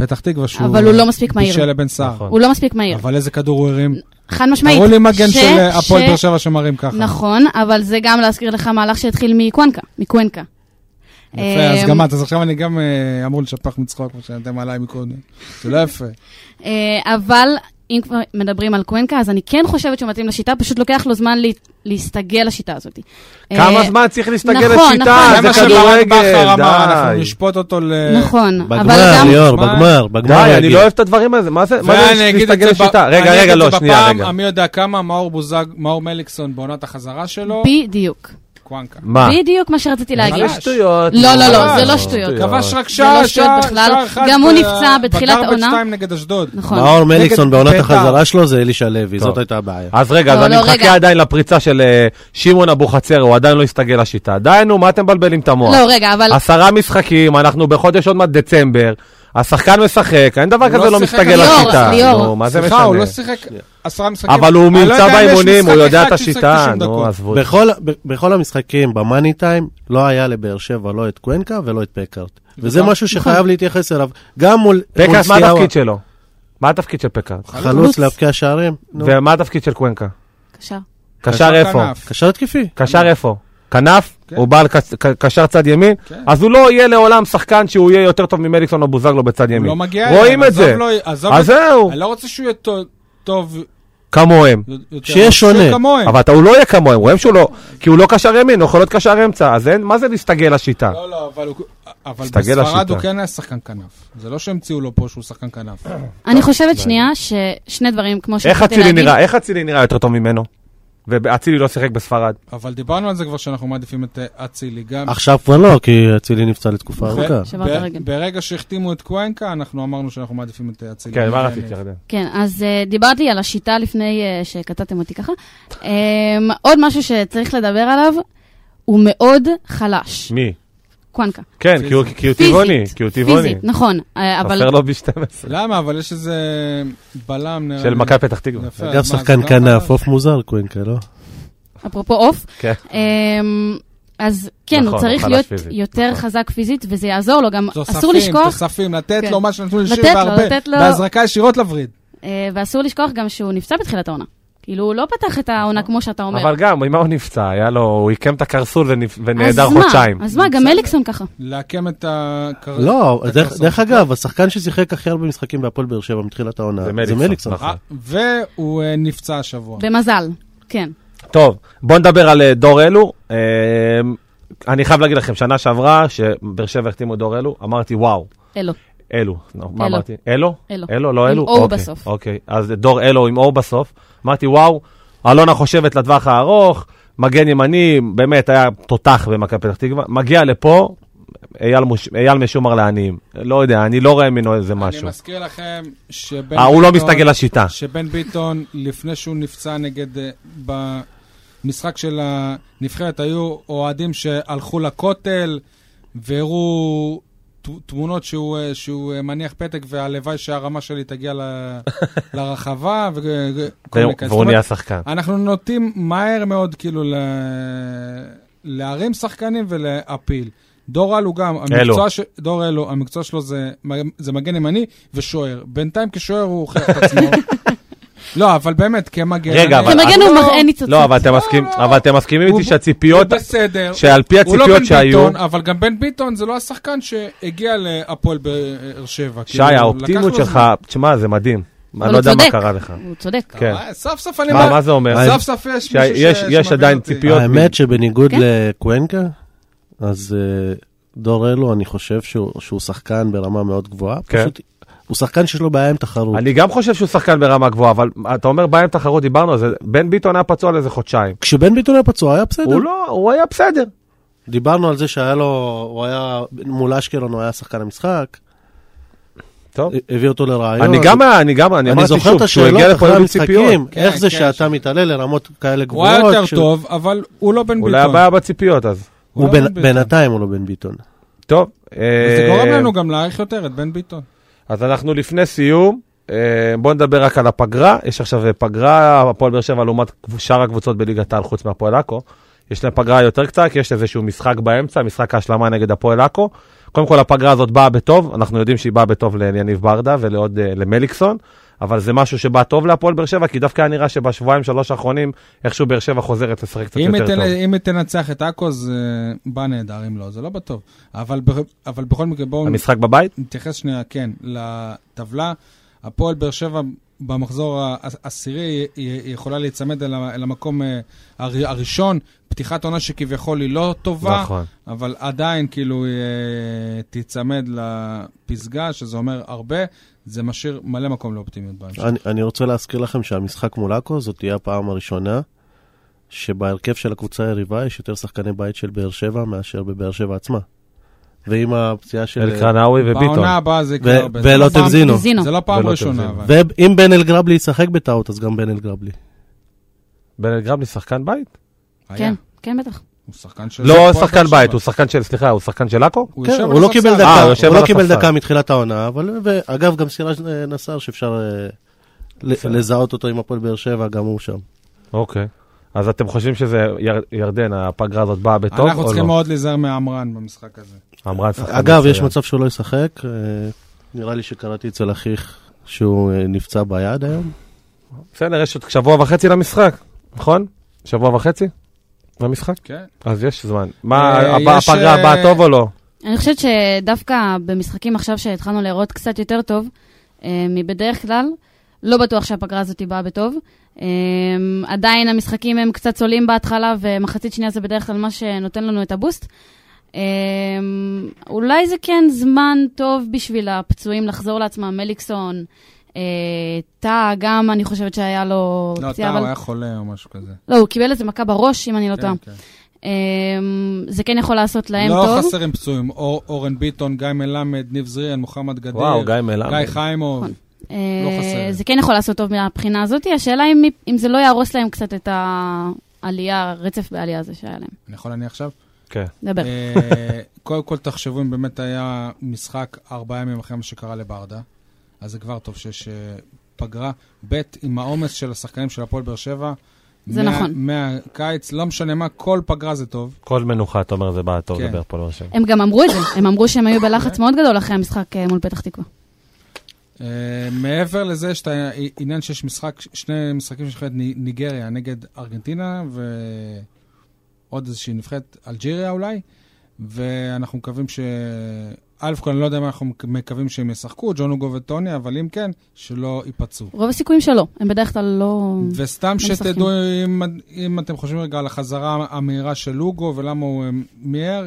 [SPEAKER 3] פתח תקווה, שהוא...
[SPEAKER 5] אבל הוא לא מספיק מהיר.
[SPEAKER 3] בישל לבן סער.
[SPEAKER 2] נכון.
[SPEAKER 5] הוא לא מספיק מהיר.
[SPEAKER 3] אבל איזה כדור הוא הרים.
[SPEAKER 5] חד משמעית.
[SPEAKER 3] תראו לי מגן
[SPEAKER 5] ש-
[SPEAKER 3] של אה,
[SPEAKER 5] ש-
[SPEAKER 3] הפועל באר שבע שמרים ככה.
[SPEAKER 5] נכון, אבל זה גם להזכיר לך מהלך שהתחיל מקוונקה, מקוונקה.
[SPEAKER 3] יפה, אז
[SPEAKER 5] אמ,
[SPEAKER 3] גם את, אז עכשיו אני גם אה, אמור לשפך מצחוק, כמו שאתם עליי מקודם. זה לא יפה.
[SPEAKER 5] אה, אבל אם כבר מדברים על קוונקה, אז אני כן חושבת שהוא מתאים לשיטה, פשוט לוקח לו זמן להת- להסתגל לשיטה הזאת.
[SPEAKER 2] כמה
[SPEAKER 5] אה,
[SPEAKER 2] זמן צריך להסתגל
[SPEAKER 5] נכון,
[SPEAKER 2] לשיטה?
[SPEAKER 5] נכון.
[SPEAKER 3] זה מה
[SPEAKER 2] זה
[SPEAKER 3] שברק בכר
[SPEAKER 2] כדורגל,
[SPEAKER 3] אמר, אנחנו
[SPEAKER 2] די.
[SPEAKER 3] נשפוט אותו ל...
[SPEAKER 5] נכון,
[SPEAKER 2] אה,
[SPEAKER 5] אבל
[SPEAKER 4] בגמר,
[SPEAKER 5] גם...
[SPEAKER 4] ליאור,
[SPEAKER 3] תשמע,
[SPEAKER 4] בגמר, בגמר
[SPEAKER 2] די, אני
[SPEAKER 4] יגיד.
[SPEAKER 2] לא אוהב את הדברים האלה, מה זה מה זה
[SPEAKER 3] ואני אגיד את
[SPEAKER 2] להסתגל
[SPEAKER 3] זה ב-
[SPEAKER 2] לשיטה? רגע,
[SPEAKER 3] אני
[SPEAKER 2] רגע,
[SPEAKER 3] אגיד
[SPEAKER 2] לא,
[SPEAKER 3] את זה
[SPEAKER 2] שנייה,
[SPEAKER 3] בפעם
[SPEAKER 2] רגע.
[SPEAKER 3] המי יודע כמה מאור בוזג, מאור מליקסון בעונת החזרה שלו,
[SPEAKER 5] בדיוק.
[SPEAKER 3] קוואנקה.
[SPEAKER 2] מה?
[SPEAKER 5] בדיוק מה שרציתי להגיד.
[SPEAKER 3] חלש.
[SPEAKER 2] שטויות.
[SPEAKER 5] לא, לא, לא,
[SPEAKER 3] זה
[SPEAKER 5] לא שטויות.
[SPEAKER 3] כבש רק
[SPEAKER 5] זה
[SPEAKER 3] שער,
[SPEAKER 5] לא שטויות
[SPEAKER 3] שער,
[SPEAKER 5] בכלל.
[SPEAKER 3] שער אחד.
[SPEAKER 5] גם הוא
[SPEAKER 3] ב-
[SPEAKER 5] נפצע בתחילת
[SPEAKER 3] בגרבג'
[SPEAKER 5] העונה.
[SPEAKER 3] 2 נגד אשדוד.
[SPEAKER 5] נכון.
[SPEAKER 4] מאור מליקסון
[SPEAKER 3] נגד
[SPEAKER 4] בעונת
[SPEAKER 3] בית"ר.
[SPEAKER 4] החזרה שלו זה אלישע לוי,
[SPEAKER 2] טוב.
[SPEAKER 4] זאת הייתה הבעיה.
[SPEAKER 2] אז רגע, אז
[SPEAKER 5] לא,
[SPEAKER 2] אני
[SPEAKER 5] לא,
[SPEAKER 2] מחכה
[SPEAKER 5] רגע.
[SPEAKER 2] עדיין לפריצה של אה, שמעון אבוחצירא, הוא עדיין לא הסתגל לשיטה. די, נו, מה אתם מבלבלים את המוח?
[SPEAKER 5] לא, רגע, אבל...
[SPEAKER 2] עשרה משחקים, אנחנו בחודש עוד מעט דצמבר, השחקן משחק, אין דבר
[SPEAKER 3] הוא
[SPEAKER 2] כזה
[SPEAKER 3] לא
[SPEAKER 2] לא
[SPEAKER 3] שיחק
[SPEAKER 2] מסתגל
[SPEAKER 5] ליאור,
[SPEAKER 2] לשיטה.
[SPEAKER 5] ליאור.
[SPEAKER 2] נו, מה זה
[SPEAKER 3] סליחה, הוא
[SPEAKER 2] משנה?
[SPEAKER 3] לא שיחק עשרה משחקים.
[SPEAKER 2] אבל הוא
[SPEAKER 3] אני לא
[SPEAKER 2] נמצא
[SPEAKER 3] יודע אם יש
[SPEAKER 2] באימונים, הוא
[SPEAKER 3] משחק
[SPEAKER 2] יודע
[SPEAKER 3] אחד
[SPEAKER 2] את
[SPEAKER 3] שהוא שיחק
[SPEAKER 2] השיטה,
[SPEAKER 3] 90
[SPEAKER 2] נו,
[SPEAKER 3] דקות.
[SPEAKER 2] עזבו.
[SPEAKER 4] בכל, ב- בכל המשחקים במאני טיים לא היה לבאר שבע לא את קוונקה ולא את פקארט. וזה משהו שחייב להתייחס אליו. גם מול מול
[SPEAKER 2] פקארט, מה
[SPEAKER 4] סיאבה.
[SPEAKER 2] התפקיד שלו? מה התפקיד של פקארט?
[SPEAKER 4] חלוץ להבקיע שערים? נו.
[SPEAKER 2] ומה התפקיד של קוונקה?
[SPEAKER 5] קשר.
[SPEAKER 2] קשר איפה?
[SPEAKER 3] כנף.
[SPEAKER 4] קשר התקפי.
[SPEAKER 2] קשר איפה? כנף?
[SPEAKER 3] כן.
[SPEAKER 2] הוא בעל קש- ק- קשר צד ימין?
[SPEAKER 3] כן.
[SPEAKER 2] אז הוא לא יהיה לעולם שחקן שהוא יהיה יותר טוב ממליקסון או בוזגלו בצד
[SPEAKER 3] הוא לא
[SPEAKER 2] ימין.
[SPEAKER 3] מגיע
[SPEAKER 2] רואים
[SPEAKER 3] אליו,
[SPEAKER 2] את זה.
[SPEAKER 3] עזוב לו- עזוב
[SPEAKER 2] אז
[SPEAKER 3] את-
[SPEAKER 2] זהו,
[SPEAKER 3] אני לא רוצה שהוא יהיה טוב- טוב
[SPEAKER 2] כמוהם.
[SPEAKER 3] יותר.
[SPEAKER 4] שיהיה שונה.
[SPEAKER 3] שיהיה לא כמוהם.
[SPEAKER 2] אבל אתה- הוא לא יהיה כמוהם, רואים שהוא לא, כי הוא לא קשר ימין, הוא יכול להיות קשר אמצע, אז אין, מה זה להסתגל לשיטה?
[SPEAKER 3] לא, לא, אבל הוא- אבל
[SPEAKER 2] הסתגל
[SPEAKER 3] בספרד
[SPEAKER 2] לשיטה.
[SPEAKER 3] הוא כן היה שחקן כנף. זה לא שהמציאו לו פה שהוא שחקן כנף.
[SPEAKER 5] אני חושבת שנייה ששני דברים, כמו
[SPEAKER 2] איך
[SPEAKER 5] שרציתי
[SPEAKER 2] אצילי
[SPEAKER 5] להגיד,
[SPEAKER 2] נראה, איך אצילי נראה יותר טוב ממנו? ואצילי לא שיחק בספרד.
[SPEAKER 3] אבל דיברנו על זה כבר שאנחנו מעדיפים את אה, אצילי גם.
[SPEAKER 4] עכשיו כבר לא, כי אצילי נפצע לתקופה
[SPEAKER 3] ו-
[SPEAKER 4] ארוכה.
[SPEAKER 5] שברת
[SPEAKER 3] ב-
[SPEAKER 5] רגל.
[SPEAKER 3] ברגע שהחתימו את קוונקה, אנחנו אמרנו שאנחנו מעדיפים את אה, אצילי.
[SPEAKER 2] כן, מה
[SPEAKER 3] אה,
[SPEAKER 2] רצית, ירדן?
[SPEAKER 5] כן, אז uh, דיברתי על השיטה לפני uh, שקטעתם אותי ככה. Um, עוד משהו שצריך לדבר עליו, הוא מאוד חלש,
[SPEAKER 2] מי?
[SPEAKER 5] קוונקה.
[SPEAKER 2] כן, כי הוא- כי הוא טבעוני, כי הוא טבעוני. לא
[SPEAKER 5] פיזית, נכון, אה, אבל...
[SPEAKER 2] חסר לו ב-12.
[SPEAKER 3] למה? אבל יש איזה בלם... נראה
[SPEAKER 2] של
[SPEAKER 3] לי.
[SPEAKER 2] מכבי פתח תקווה.
[SPEAKER 3] יפה, אז
[SPEAKER 4] אגב,
[SPEAKER 3] מה,
[SPEAKER 4] שחקן
[SPEAKER 3] זה לא גם
[SPEAKER 4] כנף,
[SPEAKER 3] חלש?
[SPEAKER 4] עוף מוזר קוונקה, לא?
[SPEAKER 5] אפרופו עוף.
[SPEAKER 2] כן.
[SPEAKER 5] אמ, אז כן,
[SPEAKER 2] נכון,
[SPEAKER 5] הוא צריך
[SPEAKER 2] הוא
[SPEAKER 5] להיות
[SPEAKER 2] חלש פיזית,
[SPEAKER 5] יותר
[SPEAKER 2] נכון.
[SPEAKER 5] חזק פיזית, וזה יעזור לו, גם אסור
[SPEAKER 3] תוספים,
[SPEAKER 5] לשכוח,
[SPEAKER 3] תוספים, לתת
[SPEAKER 5] כן.
[SPEAKER 3] לו מה שנתנו לשיר
[SPEAKER 5] לתת לו,
[SPEAKER 3] בהרבה.
[SPEAKER 5] לתת לו.
[SPEAKER 3] בהזרקה ישירות לווריד.
[SPEAKER 5] אה, ואסור לשכוח גם שהוא נפצע בתחילת העונה. כאילו, הוא לא פתח את העונה
[SPEAKER 3] נכון.
[SPEAKER 5] כמו שאתה אומר.
[SPEAKER 2] אבל גם, ממה הוא נפצע? היה לו, הוא עיקם את הקרסול ונפ- ונעדר
[SPEAKER 5] אז מה?
[SPEAKER 2] חודשיים.
[SPEAKER 5] אז מה, גם מליקסון ככה.
[SPEAKER 3] לעקם את הקר...
[SPEAKER 4] לא,
[SPEAKER 3] את
[SPEAKER 4] דרך-
[SPEAKER 3] הקרסול.
[SPEAKER 4] דרך אגב, השחקן ששיחק הכי הרבה משחקים בהפועל באר שבע מתחילת העונה,
[SPEAKER 2] זה
[SPEAKER 4] זה
[SPEAKER 2] מליקסון,
[SPEAKER 4] מליקסון.
[SPEAKER 2] נכון.
[SPEAKER 3] אה, והוא אה, נפצע השבוע.
[SPEAKER 5] במזל, כן.
[SPEAKER 2] טוב, בוא נדבר על אה, דור אלו. אה, אני חייב להגיד לכם, שנה שעברה, שבאר שבע החתימו את דור אלו, אמרתי, וואו,
[SPEAKER 5] אלו.
[SPEAKER 2] אלו, לא, מה
[SPEAKER 5] אלו.
[SPEAKER 2] אמרתי? אלו?
[SPEAKER 5] אלו.
[SPEAKER 2] אלו, לא
[SPEAKER 5] עם
[SPEAKER 2] אלו?
[SPEAKER 5] אור
[SPEAKER 2] אוקיי,
[SPEAKER 5] בסוף.
[SPEAKER 2] אוקיי, אז דור אלו עם אור בסוף. אמרתי, וואו, אלונה חושבת לטווח הארוך, מגן ימני, באמת היה תותח במכבי פתח תקווה. מגיע לפה, אייל, מוש... אייל משומר לעניים. לא יודע, אני לא רואה ממנו איזה משהו.
[SPEAKER 3] אני מזכיר לכם שבן
[SPEAKER 2] אה, הוא לא
[SPEAKER 3] ביטון-
[SPEAKER 2] מסתגל לשיטה.
[SPEAKER 3] שבן ביטון, לפני שהוא נפצע נגד... אה, במשחק של הנבחרת היו אוהדים שהלכו לכותל והראו ת- תמונות שהוא, אה, שהוא אה, מניח פתק והלוואי שהרמה שלי תגיע ל- לרחבה וכל מיני
[SPEAKER 2] והוא-
[SPEAKER 3] כאלה. זאת
[SPEAKER 2] והוא
[SPEAKER 3] אומרת, אה,
[SPEAKER 2] נהיה שחקן.
[SPEAKER 3] אנחנו נוטים מהר מאוד כאילו ל... להרים שחקנים ולהפיל. דור אלו גם, המקצוע, ש... דור אלו, המקצוע שלו זה, זה מגן ימני ושוער. בינתיים כשוער הוא הוכיח את עצמו. לא, אבל באמת, כמגן...
[SPEAKER 2] רגע,
[SPEAKER 3] אני-
[SPEAKER 2] אבל-
[SPEAKER 5] כמגן הוא
[SPEAKER 3] לא,
[SPEAKER 5] מראה ניצוצות.
[SPEAKER 2] לא, אבל אתם מסכימים- אבל אתם מסכימים איתי
[SPEAKER 3] הוא-
[SPEAKER 2] שהציפיות,
[SPEAKER 3] הוא בסדר.
[SPEAKER 2] שעל פי
[SPEAKER 3] הוא לא
[SPEAKER 2] הציפיות
[SPEAKER 3] בן
[SPEAKER 2] שהיו,
[SPEAKER 3] ביטון, אבל גם בן ביטון זה לא השחקן שהגיע להפועל באר שבע.
[SPEAKER 2] שי,
[SPEAKER 3] כאילו,
[SPEAKER 2] האופטימיות
[SPEAKER 3] לקח לו
[SPEAKER 2] שלך,
[SPEAKER 3] זמן.
[SPEAKER 2] תשמע, זה מדהים.
[SPEAKER 5] אבל
[SPEAKER 2] אני לא יודע
[SPEAKER 5] הוא
[SPEAKER 2] מה
[SPEAKER 5] צודק.
[SPEAKER 2] קרה לך.
[SPEAKER 5] הוא צודק.
[SPEAKER 2] כן.
[SPEAKER 3] אה, סוף סוף אני...
[SPEAKER 2] מה
[SPEAKER 3] בא-
[SPEAKER 2] מה זה אומר?
[SPEAKER 4] אה,
[SPEAKER 3] סוף סוף יש מישהו
[SPEAKER 2] שיש-
[SPEAKER 3] ש-
[SPEAKER 2] יש
[SPEAKER 3] שמבין
[SPEAKER 2] עדיין
[SPEAKER 3] אותי.
[SPEAKER 2] ציפיות.
[SPEAKER 4] האמת שבניגוד
[SPEAKER 5] כן.
[SPEAKER 4] לקוונקה, אז אה, דור אלו, אני חושב שהוא שהוא שחקן ברמה מאוד גבוהה.
[SPEAKER 2] כן.
[SPEAKER 4] פשוט הוא שחקן שיש לו בעיה עם תחרות.
[SPEAKER 2] אני גם חושב שהוא שחקן ברמה גבוהה, אבל אתה אומר בעיה עם תחרות, דיברנו על זה, בן ביטון היה פצוע לאיזה חודשיים.
[SPEAKER 4] כשבן ביטון היה פצוע היה בסדר.
[SPEAKER 2] הוא לא, הוא היה בסדר.
[SPEAKER 4] דיברנו על זה שהיה לו, הוא היה, מול אשקלון הוא היה שחקן המשחק,
[SPEAKER 2] טוב.
[SPEAKER 4] הביא אותו לרעיון.
[SPEAKER 2] אני גם, היה- אני גם, אני
[SPEAKER 4] אה, לא, אני
[SPEAKER 2] אמרתי
[SPEAKER 4] זוכר את
[SPEAKER 2] שוב, כשהוא
[SPEAKER 4] השאלות
[SPEAKER 2] הגיע לפה
[SPEAKER 4] אחרי
[SPEAKER 2] היו לי ציפיות.
[SPEAKER 4] המשחקים,
[SPEAKER 3] כן,
[SPEAKER 4] איך זה
[SPEAKER 3] כן.
[SPEAKER 4] שאתה מתעלה לרמות כאלה
[SPEAKER 3] הוא היה
[SPEAKER 4] גבוהות.
[SPEAKER 3] יותר
[SPEAKER 4] שהוא-
[SPEAKER 3] טוב, אבל הוא לא בן ביטון.
[SPEAKER 2] אולי הבעיה בציפיות אז.
[SPEAKER 4] הוא
[SPEAKER 3] לא
[SPEAKER 4] בן-
[SPEAKER 3] בן ביטון.
[SPEAKER 4] בינתיים הוא לא בן ביטון.
[SPEAKER 2] טוב.
[SPEAKER 3] זה
[SPEAKER 2] אה,
[SPEAKER 3] גורם לנו גם להעריך יותר את בן ביטון.
[SPEAKER 2] אז אנחנו לפני סיום, אה, בואו נדבר רק על הפגרה. יש עכשיו אה, פגרה, הפועל באר שבע לעומת קב- שאר הקבוצות בליגת העל חוץ מהפועל עכו. יש להם פגרה יותר קצרה, כי יש איזשהו משחק באמצע, משחק ההשלמה נגד הפועל עכו. קודם כל, הפגרה הזאת באה בטוב, אנחנו יודעים שהיא באה בטוב ליניב ברדה ולעוד אה, למליקסון, אבל זה משהו שבא טוב להפועל באר שבע, כי דווקא היה נראה שבשבועיים, שלוש האחרונים, איכשהו באר שבע חוזרת לשחק קצת
[SPEAKER 3] אם
[SPEAKER 2] יותר
[SPEAKER 3] היא
[SPEAKER 2] טוב.
[SPEAKER 3] תנ- אם היא תנצח את עכו, זה בא נהדר, אם לא, זה לא בטוב. אבל ב- אבל בכל מקרה, בואו
[SPEAKER 2] המשחק בבית?
[SPEAKER 3] נתייחס שנייה, כן, לטבלה. הפועל באר שבע במחזור העשירי היא היא יכולה להיצמד אל ה- אל המקום אה, הר- הראשון. פתיחת עונה שכביכול היא לא טובה,
[SPEAKER 2] נכון.
[SPEAKER 3] אבל עדיין כאילו היא אה, תיצמד לפסגה, שזה אומר הרבה. זה משאיר מלא מקום לאופטימיות בהמשך.
[SPEAKER 4] אני- אני רוצה להזכיר לכם שהמשחק מול עכו זאת תהיה הפעם הראשונה שבהרכב של הקבוצה היריבה יש יותר שחקני בית של באר שבע מאשר בבאר שבע עצמה. ועם הפציעה של...
[SPEAKER 2] אלקרנאווי וביטון.
[SPEAKER 3] בעונה הבאה זה יקרה
[SPEAKER 4] ו-
[SPEAKER 3] הרבה.
[SPEAKER 4] ולא
[SPEAKER 3] זה לא פעם-
[SPEAKER 4] תבזינו.
[SPEAKER 5] זינו.
[SPEAKER 3] זה לא פעם
[SPEAKER 2] ולא
[SPEAKER 3] ראשונה,
[SPEAKER 2] תבזינו.
[SPEAKER 3] אבל.
[SPEAKER 4] ואם בן אלגרבלי ישחק בטעות, אז גם בן אלגרבלי.
[SPEAKER 2] בן גרבלי שחקן בית?
[SPEAKER 3] היה.
[SPEAKER 5] כן, כן, בטח.
[SPEAKER 3] הוא שחקן של...
[SPEAKER 2] לא
[SPEAKER 3] הפועל
[SPEAKER 2] שחקן
[SPEAKER 3] באר שבע.
[SPEAKER 2] בית, הוא שחקן של, סליחה, הוא שחקן של עכו?
[SPEAKER 3] הוא
[SPEAKER 4] כן,
[SPEAKER 3] יושב
[SPEAKER 4] הוא לא
[SPEAKER 3] על
[SPEAKER 4] קיבל
[SPEAKER 3] הספסל.
[SPEAKER 2] אה, הוא
[SPEAKER 4] דקה,
[SPEAKER 2] יושב
[SPEAKER 4] הוא
[SPEAKER 2] על
[SPEAKER 4] לא קיבל
[SPEAKER 2] הספסל.
[SPEAKER 4] דקה מתחילת העונה, אבל אגב, גם סיראז' אה, נסאר שאפשר אה, ל- לזהות אותו עם הפועל באר שבע, גם הוא שם.
[SPEAKER 2] אוקיי. אז אתם חושבים שזה יר, ירדן, הפגרה הזאת באה בטוב או לא?
[SPEAKER 3] אנחנו צריכים מאוד להיזהר מעמרן במשחק הזה.
[SPEAKER 2] אמרה שחקן
[SPEAKER 4] אגב, יש
[SPEAKER 2] מצוין.
[SPEAKER 4] מצב שהוא לא ישחק, אה, נראה לי שקראתי אצל אחיך שהוא אה, נפצע ביד היום.
[SPEAKER 2] בסדר, יש עוד שבוע וחצי למשחק, נכון? שבוע וחצי למשחק?
[SPEAKER 3] כן.
[SPEAKER 2] אז יש זמן. מה,
[SPEAKER 3] אה,
[SPEAKER 2] הבא-
[SPEAKER 3] יש,
[SPEAKER 2] הפגרה
[SPEAKER 3] אה,
[SPEAKER 2] הבאה טוב או לא?
[SPEAKER 5] אני חושבת שדווקא במשחקים עכשיו שהתחלנו להראות קצת יותר טוב אה, מבדרך כלל, לא בטוח שהפגרה הזאת באה בטוב. אה, עדיין המשחקים הם קצת צולעים בהתחלה, ומחצית שנייה זה בדרך כלל מה שנותן לנו את הבוסט. אה, אולי זה כן זמן טוב בשביל הפצועים לחזור לעצמם, מליקסון. אה, טאה גם, אני חושבת שהיה לו
[SPEAKER 3] לא,
[SPEAKER 5] פציעה,
[SPEAKER 3] אתה
[SPEAKER 5] אבל...
[SPEAKER 3] היה חולה או משהו כזה.
[SPEAKER 5] לא, הוא קיבל איזה מכה בראש, אם אני לא טועה.
[SPEAKER 3] כן, כן.
[SPEAKER 5] אה, זה כן יכול לעשות להם
[SPEAKER 3] לא
[SPEAKER 5] טוב.
[SPEAKER 3] חסרים פצועים. אור- אורן ביטון, גיא מלמד, ניב זריאן, מוחמד גדיר.
[SPEAKER 2] וואו, גיא מלמד.
[SPEAKER 3] גיא חיימוב.
[SPEAKER 5] נכון.
[SPEAKER 3] לא
[SPEAKER 5] אה,
[SPEAKER 3] חסר.
[SPEAKER 5] זה כן יכול לעשות טוב מהבחינה הזאת, השאלה אם, אם זה לא יהרוס להם קצת את העלייה, הרצף בעלייה הזה שהיה להם.
[SPEAKER 3] אני יכול להניח עכשיו?
[SPEAKER 2] כן.
[SPEAKER 5] דבר.
[SPEAKER 3] אה, קודם כל תחשבו אם באמת היה משחק ארבעה ימים אחרי מה שקרה לברדה, אז זה כבר טוב שיש אה, פגרה. ב', עם העומס של השחקנים של הפועל באר שבע.
[SPEAKER 5] זה
[SPEAKER 3] מה-
[SPEAKER 5] נכון.
[SPEAKER 3] מהקיץ, לא משנה מה, כל פגרה זה טוב.
[SPEAKER 2] כל מנוחה, אתה אומר, זה בא טוב
[SPEAKER 3] כן.
[SPEAKER 2] לדבר פה לא שם.
[SPEAKER 5] הם גם אמרו את זה, הם אמרו שהם היו בלחץ מאוד גדול אחרי המשחק אה, מול פתח תקווה.
[SPEAKER 3] אה, מעבר לזה, יש את העניין שיש משחק, שני משחקים של נבחרת ני- ניגריה נגד ארגנטינה, ועוד איזושהי נבחרת אלג'יריה אולי, ואנחנו מקווים ש... א' כל, אני לא יודע מה אנחנו מק- מקווים שהם ישחקו, ג'ון אוגו וטוני, אבל אם כן, שלא ייפצעו.
[SPEAKER 5] רוב הסיכויים שלא, הם בדרך כלל לא...
[SPEAKER 3] וסתם
[SPEAKER 5] משחקים.
[SPEAKER 3] שתדעו, אם, אם אתם חושבים רגע על החזרה המהירה של לוגו ולמה הוא אה, מיהר,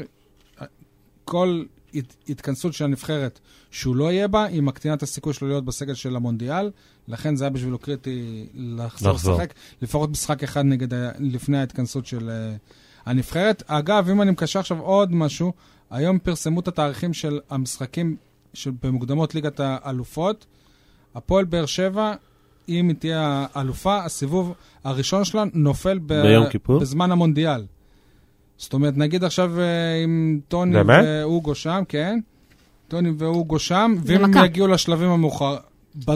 [SPEAKER 3] כל הת- התכנסות של הנבחרת שהוא לא יהיה בה, היא מקטינה את הסיכוי שלו להיות בסגל של המונדיאל, לכן זה היה בשבילו קריטי לחזור
[SPEAKER 2] לחזור.
[SPEAKER 3] לשחק, לפחות משחק אחד נגד, ה- לפני ההתכנסות של אה, הנבחרת. אגב, אם אני מקשר עכשיו עוד משהו, היום פרסמו את התאריכים של המשחקים של- במוקדמות ליגת האלופות. הפועל באר שבע, אם היא תהיה האלופה, הסיבוב הראשון שלה נופל ב-
[SPEAKER 4] ביום כיפור?
[SPEAKER 3] בזמן המונדיאל. זאת אומרת, נגיד עכשיו אה, אם טוני
[SPEAKER 2] באמת?
[SPEAKER 3] ואוגו שם, כן, טוני ואוגו שם,
[SPEAKER 5] זה
[SPEAKER 3] ואם הם
[SPEAKER 5] מכה.
[SPEAKER 3] יגיעו לשלבים המאוחר... ב-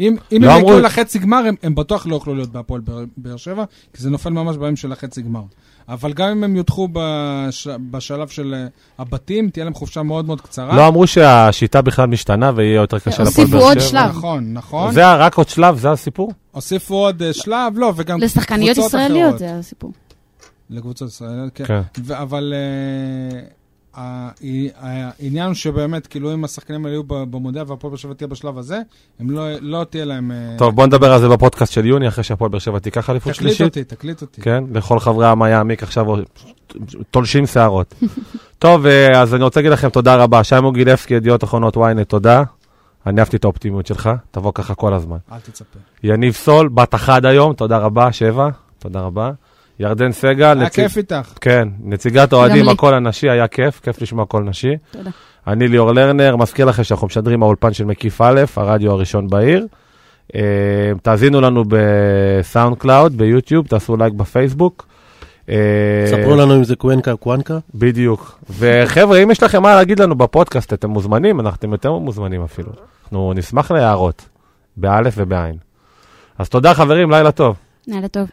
[SPEAKER 3] אם, אם
[SPEAKER 2] לא
[SPEAKER 3] הם
[SPEAKER 2] אמרו-
[SPEAKER 3] יגיעו לחצי גמר, הם, הם בטוח לא יוכלו להיות בהפועל באר- באר שבע, כי זה נופל ממש בימים של החצי גמר. אבל גם אם הם יודחו בש, בשלב של אה, הבתים, תהיה להם חופשה מאוד מאוד קצרה.
[SPEAKER 2] לא אמרו שהשיטה בכלל משתנה ויהיה יותר קשה לפועל
[SPEAKER 5] כן, הוסיפו
[SPEAKER 2] באר
[SPEAKER 5] עוד
[SPEAKER 2] שבע.
[SPEAKER 5] שלב.
[SPEAKER 3] נכון, נכון.
[SPEAKER 2] זה רק עוד שלב, זה הסיפור?
[SPEAKER 3] הוסיפו עוד אה, שלב, לא, וגם
[SPEAKER 5] לשחקניות
[SPEAKER 3] קבוצות
[SPEAKER 5] ישראליות
[SPEAKER 3] אחרות.
[SPEAKER 5] זה הסיפור.
[SPEAKER 3] לקבוצות ישראליות, כן.
[SPEAKER 2] כן.
[SPEAKER 3] ו- אבל אה, ה- העניין הוא שבאמת, כאילו, אם השחקנים האלה יהיו ב- במונדיאל והפועל באר שבע תהיה בשלב הזה, הם לא, לא תהיה להם... אה,
[SPEAKER 2] טוב, בוא נדבר על זה בפודקאסט של יוני, אחרי שהפועל באר שבע תיקח אליפות
[SPEAKER 3] תקליט
[SPEAKER 2] שלישית.
[SPEAKER 3] אותי, תקליט אותי.
[SPEAKER 2] כן, לכל חברי המיאמיק עכשיו תולשים שערות. טוב, אה, אז אני רוצה להגיד לכם תודה רבה. שיימו גילבסקי, ידיעות אחרונות ynet, תודה. אני אהבתי את האופטימיות שלך, תבוא ככה כל הזמן.
[SPEAKER 3] אל תצפה.
[SPEAKER 2] יניב סול, בת אחת היום, תודה רבה, שבע, תודה רבה. ירדן סגל,
[SPEAKER 3] היה
[SPEAKER 2] נציג...
[SPEAKER 3] כיף איתך.
[SPEAKER 2] כן, נציגת אוהדים,
[SPEAKER 5] לי.
[SPEAKER 2] הקול הנשי, היה כיף, כיף לשמוע קול נשי.
[SPEAKER 5] תודה.
[SPEAKER 2] אני ליאור לרנר, מזכיר לכם שאנחנו משדרים מהאולפן של מקיף א', הרדיו הראשון בעיר. אה, תאזינו לנו בסאונד קלאוד, ביוטיוב, תעשו לייק בפייסבוק. אה,
[SPEAKER 4] ספרו לנו אם זה קוונקה קוונקה.
[SPEAKER 2] בדיוק. וחבר'ה, אם יש לכם מה להגיד לנו בפודקאסט, אתם מוזמנים, אנחנו- אתם יותר מוזמנים אפילו. אנחנו נשמח להערות, באלף ובעין. אז תודה חברים, לילה טוב.
[SPEAKER 5] לילה טוב.